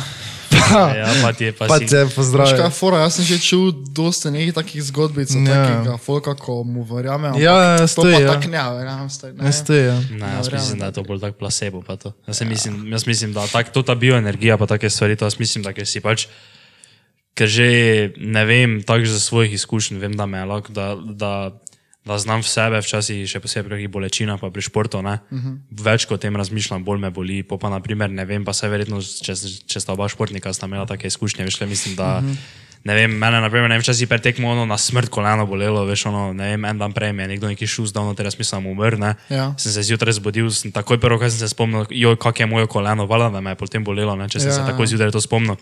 [SPEAKER 3] Pa,
[SPEAKER 1] Ja, pa ti je pa
[SPEAKER 3] pa
[SPEAKER 1] si.
[SPEAKER 3] te
[SPEAKER 2] Veš kaj,
[SPEAKER 3] pozdravi.
[SPEAKER 2] fora, jaz sem že čutil dosta nekih takih zgodbic,
[SPEAKER 3] Ja.
[SPEAKER 2] od takega folka, ko mu verjamem. ampak
[SPEAKER 3] Ja,
[SPEAKER 2] to no, pa
[SPEAKER 3] stoji, ja.
[SPEAKER 2] tako ne, verjamem. Stoj, ne.
[SPEAKER 3] Ne stoji, ja.
[SPEAKER 1] Ne, jaz
[SPEAKER 2] verjamem,
[SPEAKER 1] mislim, da je to bolj tak placebo. pa to. Jaz, ja. mislim, jaz mislim, da tak, to ta bioenergija pa take stvari, to jaz mislim, da ker si pač, ker že ne vem, tako že za svojih izkušenj vem, da me je lahko, da, da, da znam v sebe, včasih še posebej pri kakih bolečinah, pa pri športu, ne, uh -huh.
[SPEAKER 2] Mhm.
[SPEAKER 1] več kot o tem razmišljam, bolj me boli, pa pa naprimer ne vem, pa se verjetno, če, če sta oba športnika, sta imela take izkušnje, veš, le mislim, da
[SPEAKER 2] Mhm.
[SPEAKER 1] uh -huh. Ne vem, mene naprimer, ne vem, včasih pred tekmo ono na smrt koleno bolelo, veš, ono, ne vem, en dan prej mi je nekdo neki šus dal, noter jaz mislim, da bom umrl, ne.
[SPEAKER 2] Ja.
[SPEAKER 1] Sem se zjutraj zbudil, sem takoj prvo, kar sem se spomnil, joj, kako je moje koleno, vala, da me je potem bolelo, ne, če sem ja.
[SPEAKER 2] Ja.
[SPEAKER 1] se tako zjutraj to spomnil.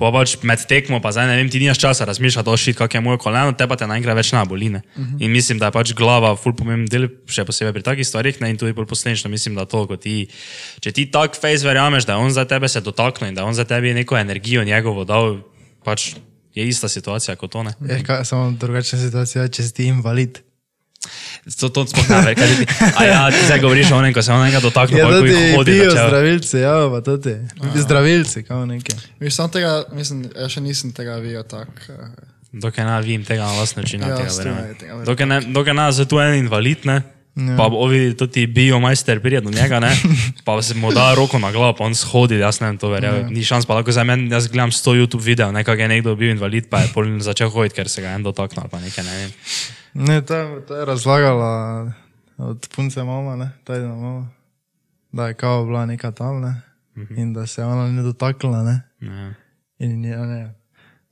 [SPEAKER 1] Pa pač med tekmo, pa zdaj ne vem, ti nimaš časa razmišljati, ošit, kako je moje koleno, te pa te naenkrat več na boline. Uh -huh. In mislim, da je pač glava ful pomemben del, še posebej pri takih stvarih, ne, in tudi bolj posledično mislim, da to, ko ti, če ti tak face verjameš, da je on za tebe se dotaknil in da je on za tebi neko energijo njegovo dal, pač je ista situacija kot one.
[SPEAKER 3] Je kaj, Eh, samo drugačna situacija, če si ti invalid.
[SPEAKER 1] To, to sploh ne ve, kaj ti. A ja, ti zdaj govoriš o onem, ko se on enega dotakne,
[SPEAKER 3] Ja,
[SPEAKER 1] pa ko
[SPEAKER 3] to
[SPEAKER 1] jih
[SPEAKER 3] ti
[SPEAKER 1] hodi.
[SPEAKER 3] pijo
[SPEAKER 1] začel.
[SPEAKER 3] zdravilci, ja, pa to ti. Zdravilci, kao neke.
[SPEAKER 2] Viš, sam tega, mislim, ja še nisem tega videl tako. eh,
[SPEAKER 1] Dokaj ne vidim tega na lastno čina,
[SPEAKER 2] Ja,
[SPEAKER 1] tega
[SPEAKER 2] strinjam, tega
[SPEAKER 1] verjamem.
[SPEAKER 2] verjamem.
[SPEAKER 1] Dokaj ne- Dokaj ne, zato je en invalid, ne? Ja. Pa ovi, to ti biomajster pride do njega, ne? pa se mu da roko na glavo, pa on shodi, jaz ne vem, to verjamem. Ja. Ni šans, pa lahko za meni, jaz gledam 100 YouTube videov, nekaj je nekdo bil invalid, pa je polno začel hoditi, ker se ga je en dotaknil, ali pa nekaj ne vem.
[SPEAKER 3] Ne, to je, to je razlagala od punce mama, ne, tajna mama, da je kao bila neka tam, ne, mhm. in da se je ona ni dotaknila, ne,
[SPEAKER 1] Ja.
[SPEAKER 3] in je, ne,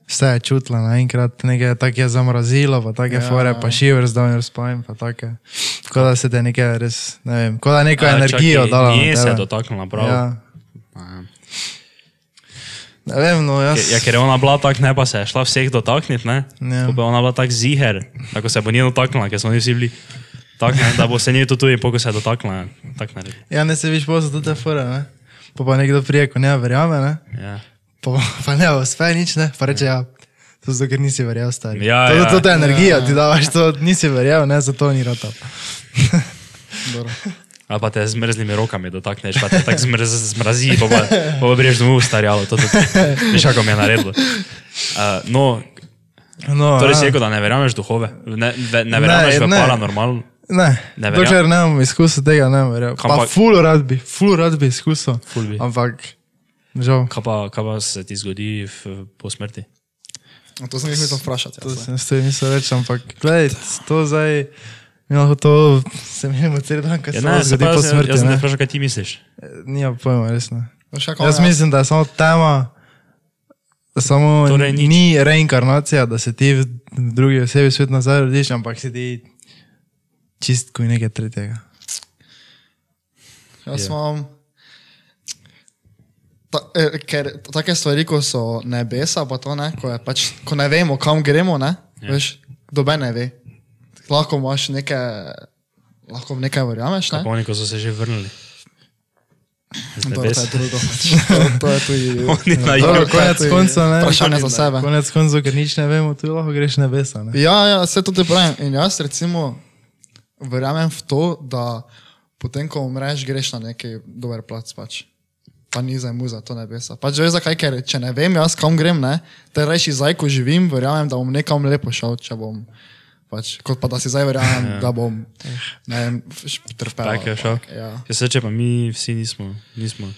[SPEAKER 3] vse je čutila naenkrat, nekaj tako je zamrazilo, pa take ja. fore, pa šiver zdaj ne spavim, pa take, kot da se te nekaj res, ne vem, kot da neko
[SPEAKER 1] A,
[SPEAKER 3] ja, energijo
[SPEAKER 1] čakaj,
[SPEAKER 3] dala
[SPEAKER 1] Nije
[SPEAKER 3] na
[SPEAKER 1] se
[SPEAKER 3] tebe.
[SPEAKER 1] dotaknila prav.
[SPEAKER 3] Ja.
[SPEAKER 1] Ja. Ja.
[SPEAKER 3] Ne vem, no jaz.
[SPEAKER 1] Ker- Ja, ker je ona bila tako, ne pa se je šla vseh dotakniti, ne?
[SPEAKER 3] Ja.
[SPEAKER 1] Pol Pa je ona bila tako ziher, tako se bo njeno dotaknila, ker smo mi vsi bili tako, ne, da bo se njej to tudi, poko se je dotaknila. Tak ne reče.
[SPEAKER 3] Ja, ne se viš posod do te fore, ne. Pa pa nekdo prije, ko ne verjame, ne.
[SPEAKER 1] Ja.
[SPEAKER 3] Pa, pa ne uspe nič, ne. Pa reče, ja, to zato, ker nisi verjel, stari.
[SPEAKER 1] Ja,
[SPEAKER 3] to,
[SPEAKER 1] ja.
[SPEAKER 3] to, to je energija, ja. ti davaš to, nisi verjel, ne, zato ni rata.
[SPEAKER 1] Ali pa te z mrznimi rokami dotakneš, pa te tako zmrz, zmrazi, pa pa, pa pa greš domov starjalo. To tudi, veš, kako mi je naredilo. Uh, no,
[SPEAKER 3] No,
[SPEAKER 1] torej
[SPEAKER 3] ja.
[SPEAKER 1] si rekel, da ne verjameš v duhove, ne, ve, ne
[SPEAKER 3] Ne,
[SPEAKER 1] verjameš ne, v
[SPEAKER 3] ne.
[SPEAKER 1] paranormalno.
[SPEAKER 3] Ne,
[SPEAKER 1] Ne
[SPEAKER 3] ne
[SPEAKER 1] verjamem.
[SPEAKER 3] dokler nemam izkustva tega, ne verjamem. Pa
[SPEAKER 1] Ampak-
[SPEAKER 3] ful rad bi, ful rad bi izkusil.
[SPEAKER 1] Ful bi.
[SPEAKER 3] Ampak, žal,
[SPEAKER 1] Kaj pa, kaj pa se ti zgodi v, po smrti?
[SPEAKER 2] No, To sem jih mislil vprašati.
[SPEAKER 3] to
[SPEAKER 2] jaz, ne.
[SPEAKER 3] sem s tem mislil reči, ampak, gledaj, to zdaj, mi lahko to se menimo cel dan, kaj se
[SPEAKER 1] Ja, ne,
[SPEAKER 3] nam
[SPEAKER 1] se
[SPEAKER 3] zgodi
[SPEAKER 1] pa
[SPEAKER 3] po
[SPEAKER 1] jaz-
[SPEAKER 3] smrti.
[SPEAKER 1] Jaz sem
[SPEAKER 3] ne.
[SPEAKER 1] te vprašal, kaj ti misliš.
[SPEAKER 3] Nima pojma, resno.
[SPEAKER 2] Veš, kako
[SPEAKER 3] Jaz
[SPEAKER 2] ona-
[SPEAKER 3] mislim, da je samo tema, samo torej
[SPEAKER 1] Torej nič.
[SPEAKER 3] ni reinkarnacija, da se ti v v drugi osebi svet nazaj rodiš, ampak si ti čistko in nekaj tretjega.
[SPEAKER 2] Jaz
[SPEAKER 1] Ja.
[SPEAKER 2] imam. Ta, eh, ker take stvari, ko so nebesa, pa to ne, ko, je pač, ko ne vemo, kam gremo, ne,
[SPEAKER 1] Ja.
[SPEAKER 2] ja. veš, dobe ne ve. Lahko imaš neke, lahko v nekaj verjameš, ne?
[SPEAKER 1] Pa oni, ko so se že vrnili. Z
[SPEAKER 2] To je
[SPEAKER 1] nebes.
[SPEAKER 2] to je drugo. pač. To, to je tudi.
[SPEAKER 1] Oni na
[SPEAKER 2] Ja,
[SPEAKER 3] Dobro,
[SPEAKER 1] jugu.
[SPEAKER 2] to je
[SPEAKER 3] konec
[SPEAKER 2] tudi
[SPEAKER 3] koncev, ne?
[SPEAKER 2] Vprašanje za sebe.
[SPEAKER 3] Konec koncev, ker nič ne vemo, tu lahko greš nebesa. Ne?
[SPEAKER 2] Ja, ja, vse to ti pravim. In jaz recimo verjamem v to, da potem, ko umreš, greš na neki dober plac pač. Pa ni za muza, to nebesa. Pač veš zakaj, ker če ne vem, jaz kam grem, ne, te reši zdaj, ko živim, verjamem, da bom nekam lepo šel, če bom. Pač, kot pa da si zdaj verjamem, ja. da bom ne vem, š- trpel.
[SPEAKER 1] Tako je šel.
[SPEAKER 2] Ja.
[SPEAKER 1] Ja, se če pa mi vsi nismo, nismo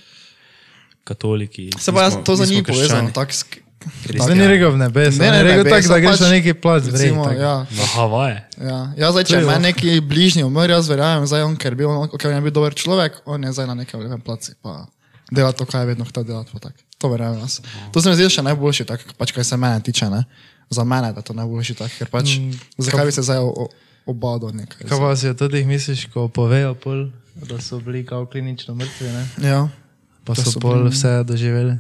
[SPEAKER 1] katoliki.
[SPEAKER 2] Se pa jaz,
[SPEAKER 1] nismo-
[SPEAKER 2] to za
[SPEAKER 1] nismo
[SPEAKER 2] njih povezano.
[SPEAKER 1] krščani.
[SPEAKER 2] Tak, sk-
[SPEAKER 3] Zdaj ni rekel v nebes,
[SPEAKER 2] Ja. Ne, ne,
[SPEAKER 3] ne, ne, rekel
[SPEAKER 2] nebesa
[SPEAKER 3] tako, da greš
[SPEAKER 2] pač,
[SPEAKER 3] na neki plac, vrej.
[SPEAKER 2] recimo,
[SPEAKER 3] tako.
[SPEAKER 2] ja.
[SPEAKER 1] Na No, Havaje.
[SPEAKER 2] Ja, jaz zdaj, če me neki bližnji umr, jaz verjamem, zdaj on, ker bi on, okay, on je bil dober človek, on je zdaj na nekem lepem placu, pa dela to, kar je vedno hotel delati. pa tako. To verjamem jaz. To se mi zdi še najboljši, tak, pač, kaj se mene tiče. Ne? Za mene je to najboljši, tak, ker pač, mm, zakaj bi se zdaj o- o- obadal nekaj.
[SPEAKER 3] Kaj pa si o teh misliš, ko povejo pol, da so bili kao klinično mrtvi, ne?
[SPEAKER 2] Ja,
[SPEAKER 3] Pa
[SPEAKER 2] Da
[SPEAKER 3] so
[SPEAKER 2] so
[SPEAKER 3] pol vse doživeli.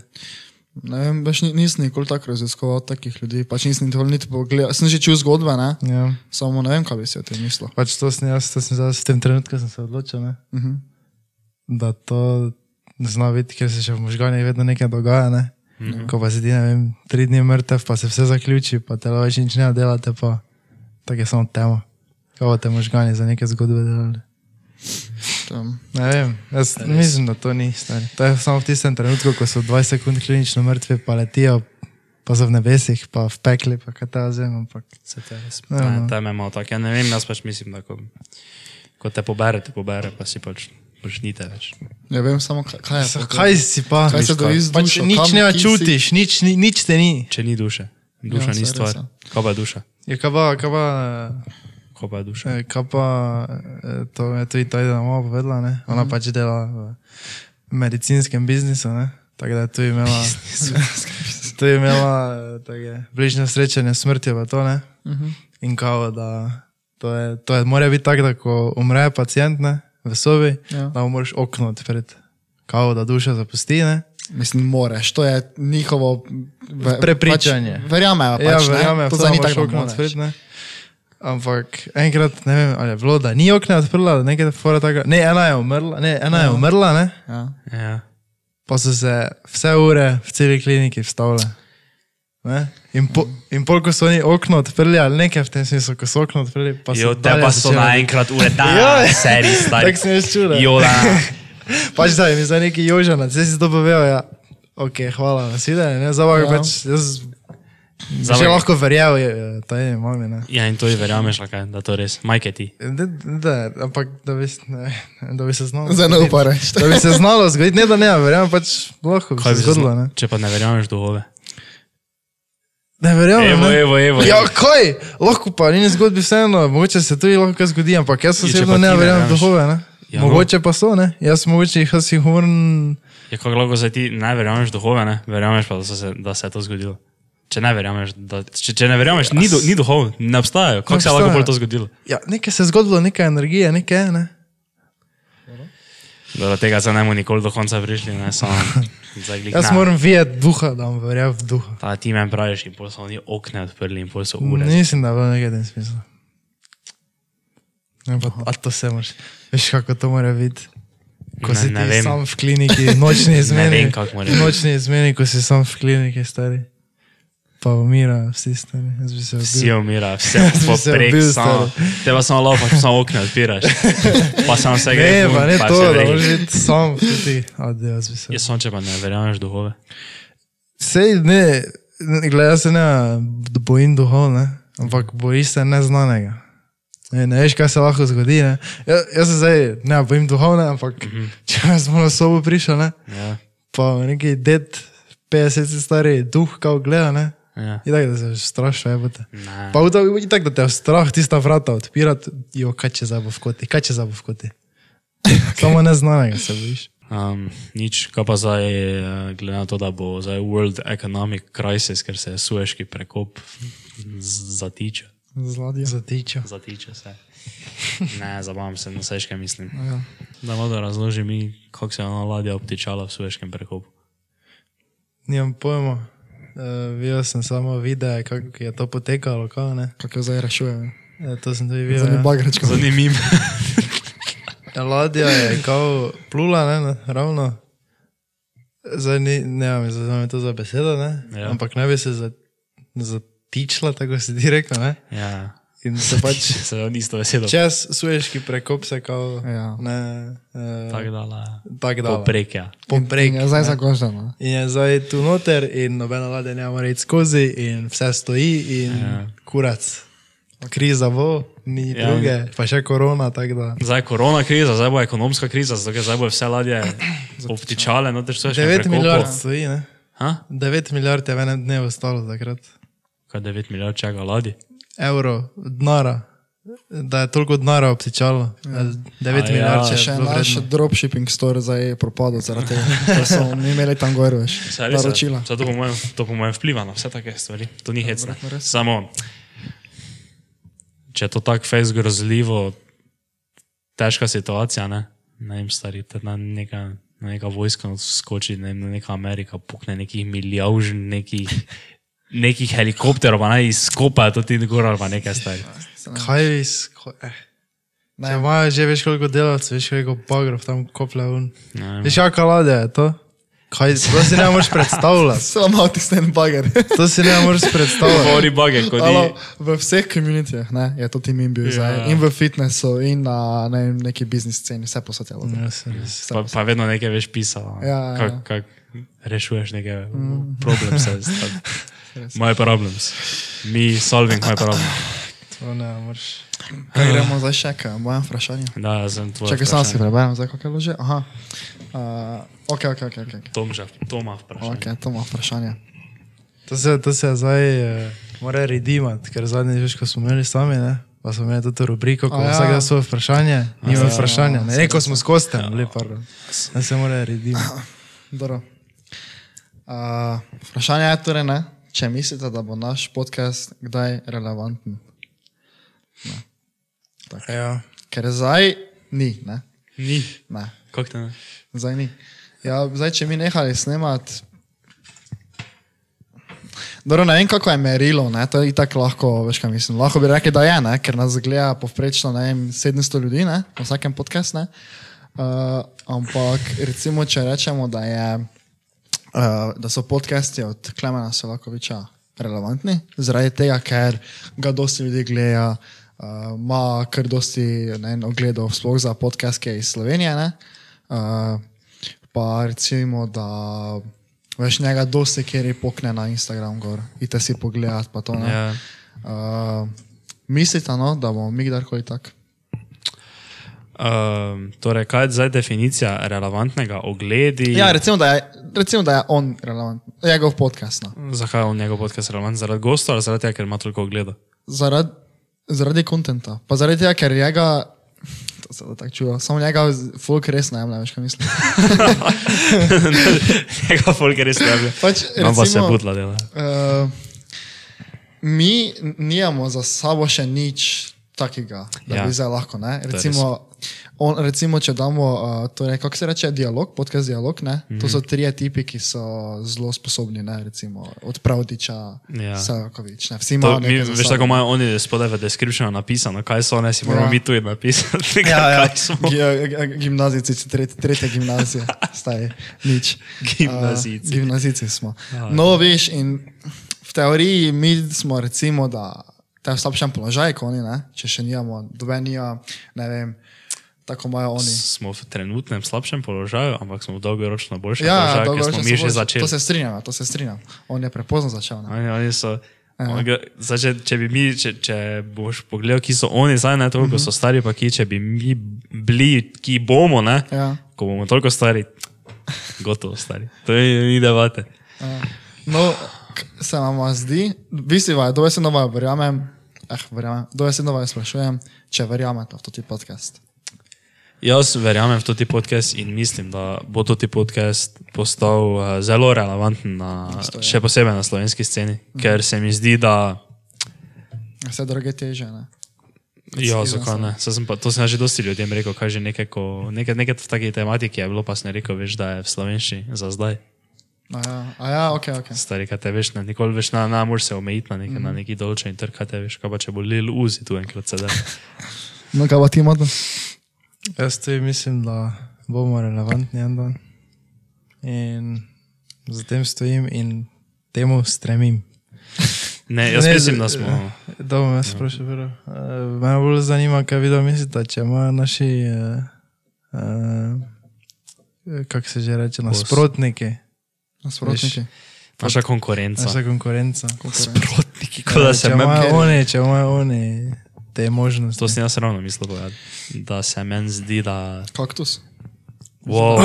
[SPEAKER 2] ne vem, več ni, nisem nikoli tako raziskoval takih ljudi, pač nisem nikoli niti pogledal, sem že čutil zgodbe, ne?
[SPEAKER 3] Ja.
[SPEAKER 2] samo ne vem, kaj bi si o tem mislil.
[SPEAKER 3] Pač to sem jaz, to sem zdaj v tem trenutku sem se odločil, ne?
[SPEAKER 2] Uh -huh.
[SPEAKER 3] da to zna biti, ker se še v možganjih vedno nekaj dogaja. Ne? Mm. Ko pa si ti, ne vem, tri dni mrtev, pa se vse zaključi, pa te več nič ne delate, pa tako je samo tema. Kaj bo te možgani za neke zgodbe delali? Ne vem, jaz mislim, da to ni stari. To je samo v tistem trenutku, ko so 20 sekund klinično mrtvi, pa letijo, pa so v nebesih, pa v pekli, pa kaj ta zem, ampak
[SPEAKER 1] Se te res.
[SPEAKER 3] Ja,
[SPEAKER 1] Ne,
[SPEAKER 3] no.
[SPEAKER 1] tam je malo tako. Ja ne vem, jaz pač mislim, da ko, ko te pobere, te pobere, pa si pač počnite več.
[SPEAKER 2] Ne vem samo, kaj, kaj je.
[SPEAKER 3] Sa-
[SPEAKER 2] pa to.
[SPEAKER 3] kaj si pa?
[SPEAKER 2] E, Kaj se dobi z
[SPEAKER 3] pač
[SPEAKER 2] dušo?
[SPEAKER 3] nič
[SPEAKER 2] Kam-
[SPEAKER 3] ne
[SPEAKER 2] kje si?
[SPEAKER 3] čutiš, nič, ni- nič te ni.
[SPEAKER 1] Če ni duše. Duša
[SPEAKER 2] Ja,
[SPEAKER 1] ja,
[SPEAKER 2] saj
[SPEAKER 1] ni
[SPEAKER 2] res,
[SPEAKER 1] stvar.
[SPEAKER 2] ja.
[SPEAKER 1] Kaj pa je duša?
[SPEAKER 3] Je kaba, kaba. eh,
[SPEAKER 1] Kaj pa je duša?
[SPEAKER 3] Eh, Kaj pa, eh, to je tudi Tajda mama povedala, ne? ona mm. pač dela v medicinskem biznisu, ne? tako da je tu imela, tu je imela eh, tako je, bližnje srečanje s smrtjo, pa to ne. Mm
[SPEAKER 2] Mhm,
[SPEAKER 3] -hmm. In kao, da to, je, to je, mora biti tako, da ko umre pacijent ne, v sobi,
[SPEAKER 2] Ja.
[SPEAKER 3] ja. da mu moraš okno odpreti, kao da duša zapusti. Ne?
[SPEAKER 2] Mislim, moreš, to je njihovo ve,
[SPEAKER 3] Prepričanje.
[SPEAKER 2] Pač, verjamejo, pač,
[SPEAKER 3] Ja,
[SPEAKER 2] ne?
[SPEAKER 3] verjamem,
[SPEAKER 2] to
[SPEAKER 3] to
[SPEAKER 2] za
[SPEAKER 3] ni
[SPEAKER 2] njih
[SPEAKER 3] tako
[SPEAKER 2] tako
[SPEAKER 3] okno
[SPEAKER 2] moreš.
[SPEAKER 3] odprt, ne. Ampak enkrat, ne vem, ali je bilo, da ni okna odprla, da nekaj fora tako. Ne, ena je umrla, ne, ena je umrla, ne.
[SPEAKER 2] Ja.
[SPEAKER 1] Ja.
[SPEAKER 3] Pa so se vse ure v celi kliniki vstavile. Ne? In, po, in pol, ko so oni okno odprli, ali nekaj v tem smislu, ko so okno odprli, pa so
[SPEAKER 1] Jo, te pa so naenkrat uredili,
[SPEAKER 3] Ja.
[SPEAKER 1] seri stari.
[SPEAKER 3] Tako sem jaz čudil.
[SPEAKER 1] Jo, da.
[SPEAKER 3] Pač da, mi za neki jožana, zdaj si to povedal, ja. Ok, hvala, nasvidenje, ne, zabavno,
[SPEAKER 2] Ja.
[SPEAKER 3] ja. pač jaz
[SPEAKER 1] Za
[SPEAKER 3] Že
[SPEAKER 1] me-
[SPEAKER 3] lahko verjel je, taj mami, ne.
[SPEAKER 1] Ja, in to ji verjameš, ali kaj, da to res. Majke ti.
[SPEAKER 3] Da, da, ampak da bi, s- ne, da bi se znalo.
[SPEAKER 2] Zdaj ne
[SPEAKER 3] zgoditi.
[SPEAKER 2] upaj reči.
[SPEAKER 3] Da bi se znalo zgoditi, ne da ne, verjamem pač lahko bi
[SPEAKER 1] Kaj
[SPEAKER 3] se
[SPEAKER 1] bi se
[SPEAKER 3] zgodilo, ne.
[SPEAKER 1] zna- Če pa ne verjameš duhove.
[SPEAKER 3] Ne verjamem.
[SPEAKER 1] Evo,
[SPEAKER 3] ne.
[SPEAKER 1] evo, evo.
[SPEAKER 3] Ja, kaj? Lahko pa ni zgodbi vseeno, mogoče se tudi lahko kaj zgodi, ampak jaz
[SPEAKER 1] Ja, če
[SPEAKER 3] osebno
[SPEAKER 1] pa ti
[SPEAKER 3] ne
[SPEAKER 1] ne
[SPEAKER 3] verjamem v
[SPEAKER 1] verjameš.
[SPEAKER 3] duhove, ne.
[SPEAKER 1] Ja, no.
[SPEAKER 3] mogoče pa so, ne. Jaz mogoče jih si horn.
[SPEAKER 1] Je kako Ja, lahko zdaj ti ne verjameš duhove, ne? Verjameš pa, da, so se, da se je to zgodilo. Če ne verjameš, da, če, če ne verjameš ni, du, ni duhov, ne obstajajo. Kako se je lahko
[SPEAKER 3] obstajajo.
[SPEAKER 1] bolj to zgodilo?
[SPEAKER 3] Ja, nekaj se je zgodilo, neka energija, nekaj, ne.
[SPEAKER 1] Da do tega se ne bomo nikoli do konca prišli, ne samo zaglik.
[SPEAKER 3] Jaz moram videti duha, da vam verjamem v duha.
[SPEAKER 1] Ta ti meni praviš in pol so oni okne odprli in pol so ure.
[SPEAKER 3] Mislim, da je bilo nekaj v tem smislu. Ne, pa, a to se moraš. Veš, kako to mora biti. Ko
[SPEAKER 1] Ne,
[SPEAKER 3] si
[SPEAKER 1] ne
[SPEAKER 3] ti
[SPEAKER 1] vem.
[SPEAKER 3] sam v kliniki, nočni izmeni.
[SPEAKER 1] vem, kako mora biti.
[SPEAKER 3] Nočni izmeni, ko si sam v kliniki, stari. Pa umira, vsi stari. Jaz bi se
[SPEAKER 1] Vsi
[SPEAKER 3] odbil.
[SPEAKER 1] umira, vse
[SPEAKER 3] bi se
[SPEAKER 1] poprek,
[SPEAKER 3] bil,
[SPEAKER 1] samo. Te pa samo lopaš, samo okne odpiraš. Pa samo vse gre.
[SPEAKER 3] Ne,
[SPEAKER 1] vun,
[SPEAKER 3] pa ne
[SPEAKER 1] pa
[SPEAKER 3] to,
[SPEAKER 1] vse
[SPEAKER 3] da
[SPEAKER 1] gre.
[SPEAKER 3] moraš biti sam v kliniki. Adi, jaz bi se.
[SPEAKER 1] Jaz sem, če pa ne verjameš duhove.
[SPEAKER 3] Sej ne, ne, gleda, jaz se ne bojim duhov, ne? ampak bojiš se neznanega. Ne, ne veš, kaj se lahko zgodi. Ne? Ja, jaz se zdaj ne bojim duhov, ne? ampak mm -hmm. če bi jaz malo sobo prišel, ne?
[SPEAKER 1] Ja,
[SPEAKER 3] pa neki ded, 50 let stari duh, kao gleda, ne?
[SPEAKER 1] ja.
[SPEAKER 3] in tako da se strašuje.
[SPEAKER 1] Ne.
[SPEAKER 3] Pa v to- in tako da te je strah tista vrata odpirati, jo kaj če zabo v koti, kaj če zabo v koti. Samo neznanega se bojiš.
[SPEAKER 1] Um, nič, kaj pa zdaj, eh, glede na to, da bo zdaj World Economic Crisis, ker se je Sueški prekop z- zatiče.
[SPEAKER 3] Zladje. Zatiča.
[SPEAKER 1] Zatiče se. Ne, zabavam se na Sueškem, mislim.
[SPEAKER 3] Ja.
[SPEAKER 1] Da malo razloži mi, kako se je ona ladja obtičala v Sueškem prekopu.
[SPEAKER 3] Nimam pojma. Uh, videl sem samo videe, kako je to potekalo. Kao, ne?
[SPEAKER 2] Kako jo zdaj rešujejo?
[SPEAKER 3] uh, to sem tudi
[SPEAKER 2] Za
[SPEAKER 3] videl.
[SPEAKER 2] njim bagrečko.
[SPEAKER 1] Zanimivo.
[SPEAKER 3] Ja. Ladja je kao plula, ne, ne, ravno. Zdaj ni, ne vem, zaznam to za besedo, ne?
[SPEAKER 1] Ja.
[SPEAKER 3] ampak ne bi se za, zatičla, tako si ti rekel. Ne?
[SPEAKER 1] Ja,
[SPEAKER 3] In se pač
[SPEAKER 1] se je on isto veselo.
[SPEAKER 3] čez suješki prekop se kao.
[SPEAKER 2] Ja.
[SPEAKER 3] Ne, uh,
[SPEAKER 1] Tako dala.
[SPEAKER 3] tak dala.
[SPEAKER 1] Poprekja.
[SPEAKER 3] Poprek.
[SPEAKER 2] Ja, zdaj zakončano.
[SPEAKER 3] In je zdaj tu noter, in nobena ladja ne more iti skozi, in vse stoji, in ja. kurac. Kriza bo, ni ja.
[SPEAKER 1] Ja.
[SPEAKER 3] druge, pa še korona. tako Da.
[SPEAKER 1] Zdaj je korona kriza, zdaj bo ekonomska kriza, zato ker zdaj bo vse ladje obtičale, no te še
[SPEAKER 3] 9 milijard stoji, ne?
[SPEAKER 1] Ha?
[SPEAKER 3] 9 milijard je v enem dnevu stalo takrat.
[SPEAKER 1] Kaj 9 milijard čega ladje?
[SPEAKER 3] Euro, denara, da je toliko denara obtičalo. Ja. 9
[SPEAKER 1] A ja,
[SPEAKER 3] milijard
[SPEAKER 2] Če
[SPEAKER 3] je
[SPEAKER 2] še
[SPEAKER 3] še
[SPEAKER 2] en naš
[SPEAKER 3] vredno.
[SPEAKER 2] dropshipping store zdaj je propadel zaradi tega, ker so mi imeli tam gor, veš,
[SPEAKER 1] Saj res,
[SPEAKER 2] naročila.
[SPEAKER 1] saj To po, mojem, to po mojem vpliva na vse take stvari. To ni hecno. Samo, če je to tako fejs grozljivo, težka situacija, ne, ne vem, stari, te na neka, na neka vojska skoči, ne vem, neka Amerika pukne nekih milijavžn, nekih, nekih helikopterov, pa naj izkopajo to ti gor ali pa nekaj stari.
[SPEAKER 3] Kaj je iz... ko- eh. Če imajo že veš koliko delavcev, veš koliko bagrov tam koplja un.
[SPEAKER 1] Ne vem.
[SPEAKER 3] Veš kakšna ladja je to? Kaj, to si ne moreš predstavljati.
[SPEAKER 2] Samo ti ste en bager.
[SPEAKER 3] To si ne moreš predstavljati.
[SPEAKER 1] Bori bage, kot
[SPEAKER 2] Alo,
[SPEAKER 1] je.
[SPEAKER 2] v vseh komunitijah ne, je to ti min bil
[SPEAKER 1] Ja.
[SPEAKER 2] zdaj. In v fitnessu, in na ne vem, neki biznis sceni, vse posvetilo.
[SPEAKER 3] Ja, se res.
[SPEAKER 1] Pa, pa vedno nekaj veš pisala.
[SPEAKER 2] Ja, ja, Mhm. ja.
[SPEAKER 1] Kako kak rešuješ neke mm. probleme? My problems. Mi solving my problem.
[SPEAKER 3] To ne moreš.
[SPEAKER 2] Kaj gremo zdaj še, kaj moje vprašanje?
[SPEAKER 1] Da, jaz sem tvoj.
[SPEAKER 2] Čakaj, sam si preberem, zdaj kako je lože. Aha. Uh, ok, ok, ok. ok.
[SPEAKER 1] Tomža, Toma vprašanje.
[SPEAKER 2] Ok, to ima vprašanje.
[SPEAKER 3] To se, to se zdaj eh, mora redimati, ker zadnji veš, ko smo imeli sami, ne? pa smo imeli tudi rubriko, ko
[SPEAKER 2] A ja.
[SPEAKER 3] ja. vsak da svoje vprašanje, nima vprašanja. Ne, ne, ko smo s kostem, ja. lepo. Da se mora redimati.
[SPEAKER 2] Dobro. Uh, vprašanje je torej, ne, če mislite, da bo naš podcast kdaj relevanten.
[SPEAKER 3] Ja.
[SPEAKER 2] Ker zdaj ni, ne.
[SPEAKER 1] Ni.
[SPEAKER 2] ne.
[SPEAKER 1] Kako te ne?
[SPEAKER 2] Zdaj ni. Ja, zdaj, če mi nehali snemati. Dobro, ne vem, kako je merilo, ne? to je itak lahko, veš, kaj mislim. Lahko bi rekli, da je, ne? ker nas gleda povprečno ne vem, 700 ljudi ne? na vsakem podkastu. Uh, ampak recimo, če rečemo, da, je, uh, da so podcasti od Klemena Selakoviča relevantni, zaradi tega, ker ga dosti ljudi gleda, uh, ima kar dosti ne vem, ogledov, sploh za Eh, podcast, ki je iz Slovenije. ne. Uh, pa recimo, da Veš njega dosti, kjer je pokne na Instagram gor. Ite si pogledat, pa to ne.
[SPEAKER 1] Ja.
[SPEAKER 2] Uh, mislite, no, da bomo mi kdorkoli tak?
[SPEAKER 1] Um, torej, kaj je zdaj definicija relevantnega ogledi?
[SPEAKER 2] Ja, recimo, da je, recimo, da je on relevanten, njegov podcast. No.
[SPEAKER 1] Zakaj je on njegov podcast relevanten? Zaradi gostov ali zaradi tega, ker ima toliko ogleda?
[SPEAKER 2] Zarad, zaradi kontenta, pa zaradi tega, ker njega, to se da tako čuva, samo njega z- folk res ne jemlje, veš kaj mislim.
[SPEAKER 1] Njega folk res ne bi.
[SPEAKER 2] Pač,
[SPEAKER 1] Imam pa se
[SPEAKER 2] recimo-
[SPEAKER 1] budla dela.
[SPEAKER 2] Uh, mi n- nimamo za sabo še nič takega, da
[SPEAKER 1] Ja.
[SPEAKER 2] ja. bi zdaj lahko. ne. Recimo, on, recimo, če damo, uh, torej, kako se reče, dialog, podcast dialog, ne? Mm -hmm. to
[SPEAKER 1] Mhm.
[SPEAKER 2] so trije tipi, ki so zelo sposobni, ne? recimo od Pravdiča,
[SPEAKER 1] Ja.
[SPEAKER 2] ja. Sajokovič. ne, Vsi
[SPEAKER 1] To,
[SPEAKER 2] imamo
[SPEAKER 1] mi,
[SPEAKER 2] No, nekaj za
[SPEAKER 1] veš,
[SPEAKER 2] sabo.
[SPEAKER 1] tako imajo oni spodaj v descriptionu napisano, kaj so oni, si moramo ja.
[SPEAKER 2] Ja.
[SPEAKER 1] mi tu napisati.
[SPEAKER 3] Ja, ja.
[SPEAKER 1] Kaj smo?
[SPEAKER 2] Gi- g- g- Gimnazijici, tretje, tretje gimnazije, staj, nič.
[SPEAKER 1] Gimnazijci.
[SPEAKER 2] Uh, gimnazijici smo.
[SPEAKER 1] Ja.
[SPEAKER 2] No, veš, in v teoriji mi smo recimo, da te v slabšem položaju, kot oni, ne? če še nijamo, dobenija, ne vem, tako imajo oni.
[SPEAKER 1] Smo v trenutnem slabšem položaju, ampak smo v dolgoročno boljšem
[SPEAKER 2] Ja,
[SPEAKER 1] položaju, ker
[SPEAKER 2] dolgoročno
[SPEAKER 1] smo
[SPEAKER 2] se
[SPEAKER 1] mi že
[SPEAKER 2] boljše.
[SPEAKER 1] začeli.
[SPEAKER 2] To se strinjam, ja, to se strinjam. On je prepozno začel. Ne?
[SPEAKER 1] Oni, oni so, on ga, zdaj, če, če bi mi, če, če boš pogledal, ki so oni, zdaj ne toliko, mm
[SPEAKER 2] Mhm.
[SPEAKER 1] -hmm. so stari, pa ki, če bi mi bili, ki bomo, ne,
[SPEAKER 2] Ja.
[SPEAKER 1] ko bomo toliko stari, gotovo stari. To ni, ni debate.
[SPEAKER 2] Ja. No, k- se vam zdi, visiva, dobesedno vam verjamem, eh, verjamem, dobesedno vam sprašujem, če verjamete v toti podcast.
[SPEAKER 1] Jaz verjamem v toti podcast in mislim, da bo toti podcast postal eh, zelo relevanten, na,
[SPEAKER 2] ja.
[SPEAKER 1] še posebej na slovenski sceni,
[SPEAKER 2] Mhm.
[SPEAKER 1] ker se mi zdi, da
[SPEAKER 2] Vse druge teže. Ne?
[SPEAKER 1] Ja,
[SPEAKER 2] Sigurno
[SPEAKER 1] zakaj
[SPEAKER 2] sem.
[SPEAKER 1] ne? Saj Sem pa, to sem jaz že dosti ljudem rekel, kaj že nekaj, ko- nekaj, nekaj v taki tematiki je bilo, pa sem rekel, veš, da je v slovenščini za zdaj.
[SPEAKER 2] A ja, a ja ok, ok.
[SPEAKER 1] Stari, kaj te veš, ne, nikoli več na, na moraš se omejiti na, nekaj, mm. na neki določen trg, kaj te veš, kaj pa če bo lil uzi tu enkrat sedaj.
[SPEAKER 2] No, kaj pa ti imate?
[SPEAKER 3] Jaz tudi mislim, da bomo relevantni en dan. In zatem stojim in temu stremim.
[SPEAKER 1] Ne, jaz ne,
[SPEAKER 3] Ne,
[SPEAKER 1] mislim,
[SPEAKER 3] z-
[SPEAKER 1] da smo.
[SPEAKER 3] Da bom
[SPEAKER 1] Ja.
[SPEAKER 3] jaz vprašal, prvo. Eh, Mene bolj zanima, kaj vi da mislite, če imajo naši, eh, kako se že reče, nasprotniki,
[SPEAKER 2] Nasprotniki. Torej,
[SPEAKER 1] Naša konkurenca.
[SPEAKER 3] naša konkurenca.
[SPEAKER 1] Sprotniki, kot da se
[SPEAKER 3] Če
[SPEAKER 1] meni.
[SPEAKER 3] imajo oni, če imajo oni te možnosti.
[SPEAKER 1] To sem jaz ravno mislil povedati, da se meni zdi, da.
[SPEAKER 2] Kaktus.
[SPEAKER 1] Wow,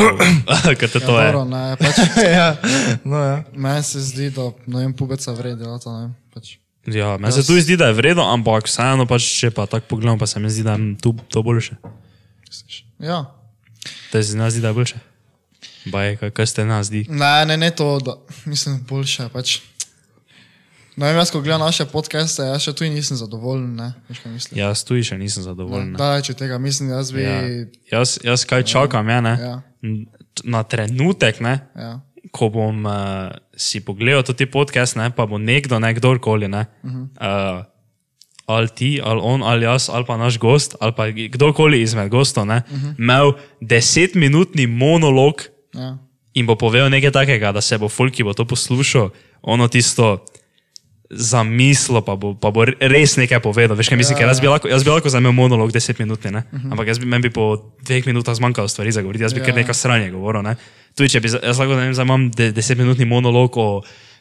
[SPEAKER 1] kaj te to
[SPEAKER 2] Ja,
[SPEAKER 1] je.
[SPEAKER 2] dobro, ne, pač,
[SPEAKER 3] ja, no ja.
[SPEAKER 2] meni se zdi, da ne vem, pubeca vredi, da to ne vem. Pač.
[SPEAKER 1] Ja, meni se tu zdi, da je vredno, ampak vseeno pač, če pa tako pogledam, pa se mi zdi, da je tu to boljše.
[SPEAKER 2] Ja.
[SPEAKER 1] To se nam zdi, da je boljše. Baj, kaj, kaj ste nas zdi?
[SPEAKER 2] Ne, ne, ne to, da mislim, boljše. Pač. Ne vem, jaz ko gledam naše podcaste, jaz še tu nisem zadovoljen, ne, veš kaj mislim.
[SPEAKER 1] Jaz tu še nisem zadovoljen. ne.
[SPEAKER 2] Daleč od tega, mislim, jaz No, bi.
[SPEAKER 1] Ja. Jaz, jaz kaj čakam, ja, ne?
[SPEAKER 2] Ja.
[SPEAKER 1] N- t- na trenutek, ne?
[SPEAKER 2] Ja.
[SPEAKER 1] ko bom uh, si pogledal to ti podcast, ne? pa bo nekdo, ne kdorkoli, ne? Uh
[SPEAKER 2] Mhm.
[SPEAKER 1] -huh. uh, ali ti, ali on, ali jaz, ali pa naš gost, ali pa g- kdorkoli izmed gostov, ne, uh
[SPEAKER 2] Mhm.
[SPEAKER 1] -huh. imel desetminutni monolog
[SPEAKER 2] Ja.
[SPEAKER 1] in bo povedal nekaj takega, da se bo folk, ki bo to poslušal, ono tisto zamislo, pa bo, pa bo res nekaj povedal. Veš, kaj mislim, ker jaz bi lahko, jaz bi lahko zamenil monolog 10 minut, ne? ampak jaz bi, meni bi po dveh minutah zmanjkalo stvari za govoriti, jaz bi
[SPEAKER 2] Ja,
[SPEAKER 1] kar
[SPEAKER 2] ja.
[SPEAKER 1] nekaj sranje govoril. Ne? Tudi če bi, za- jaz lahko, ne vem, zdaj imam 10-minutni monolog o.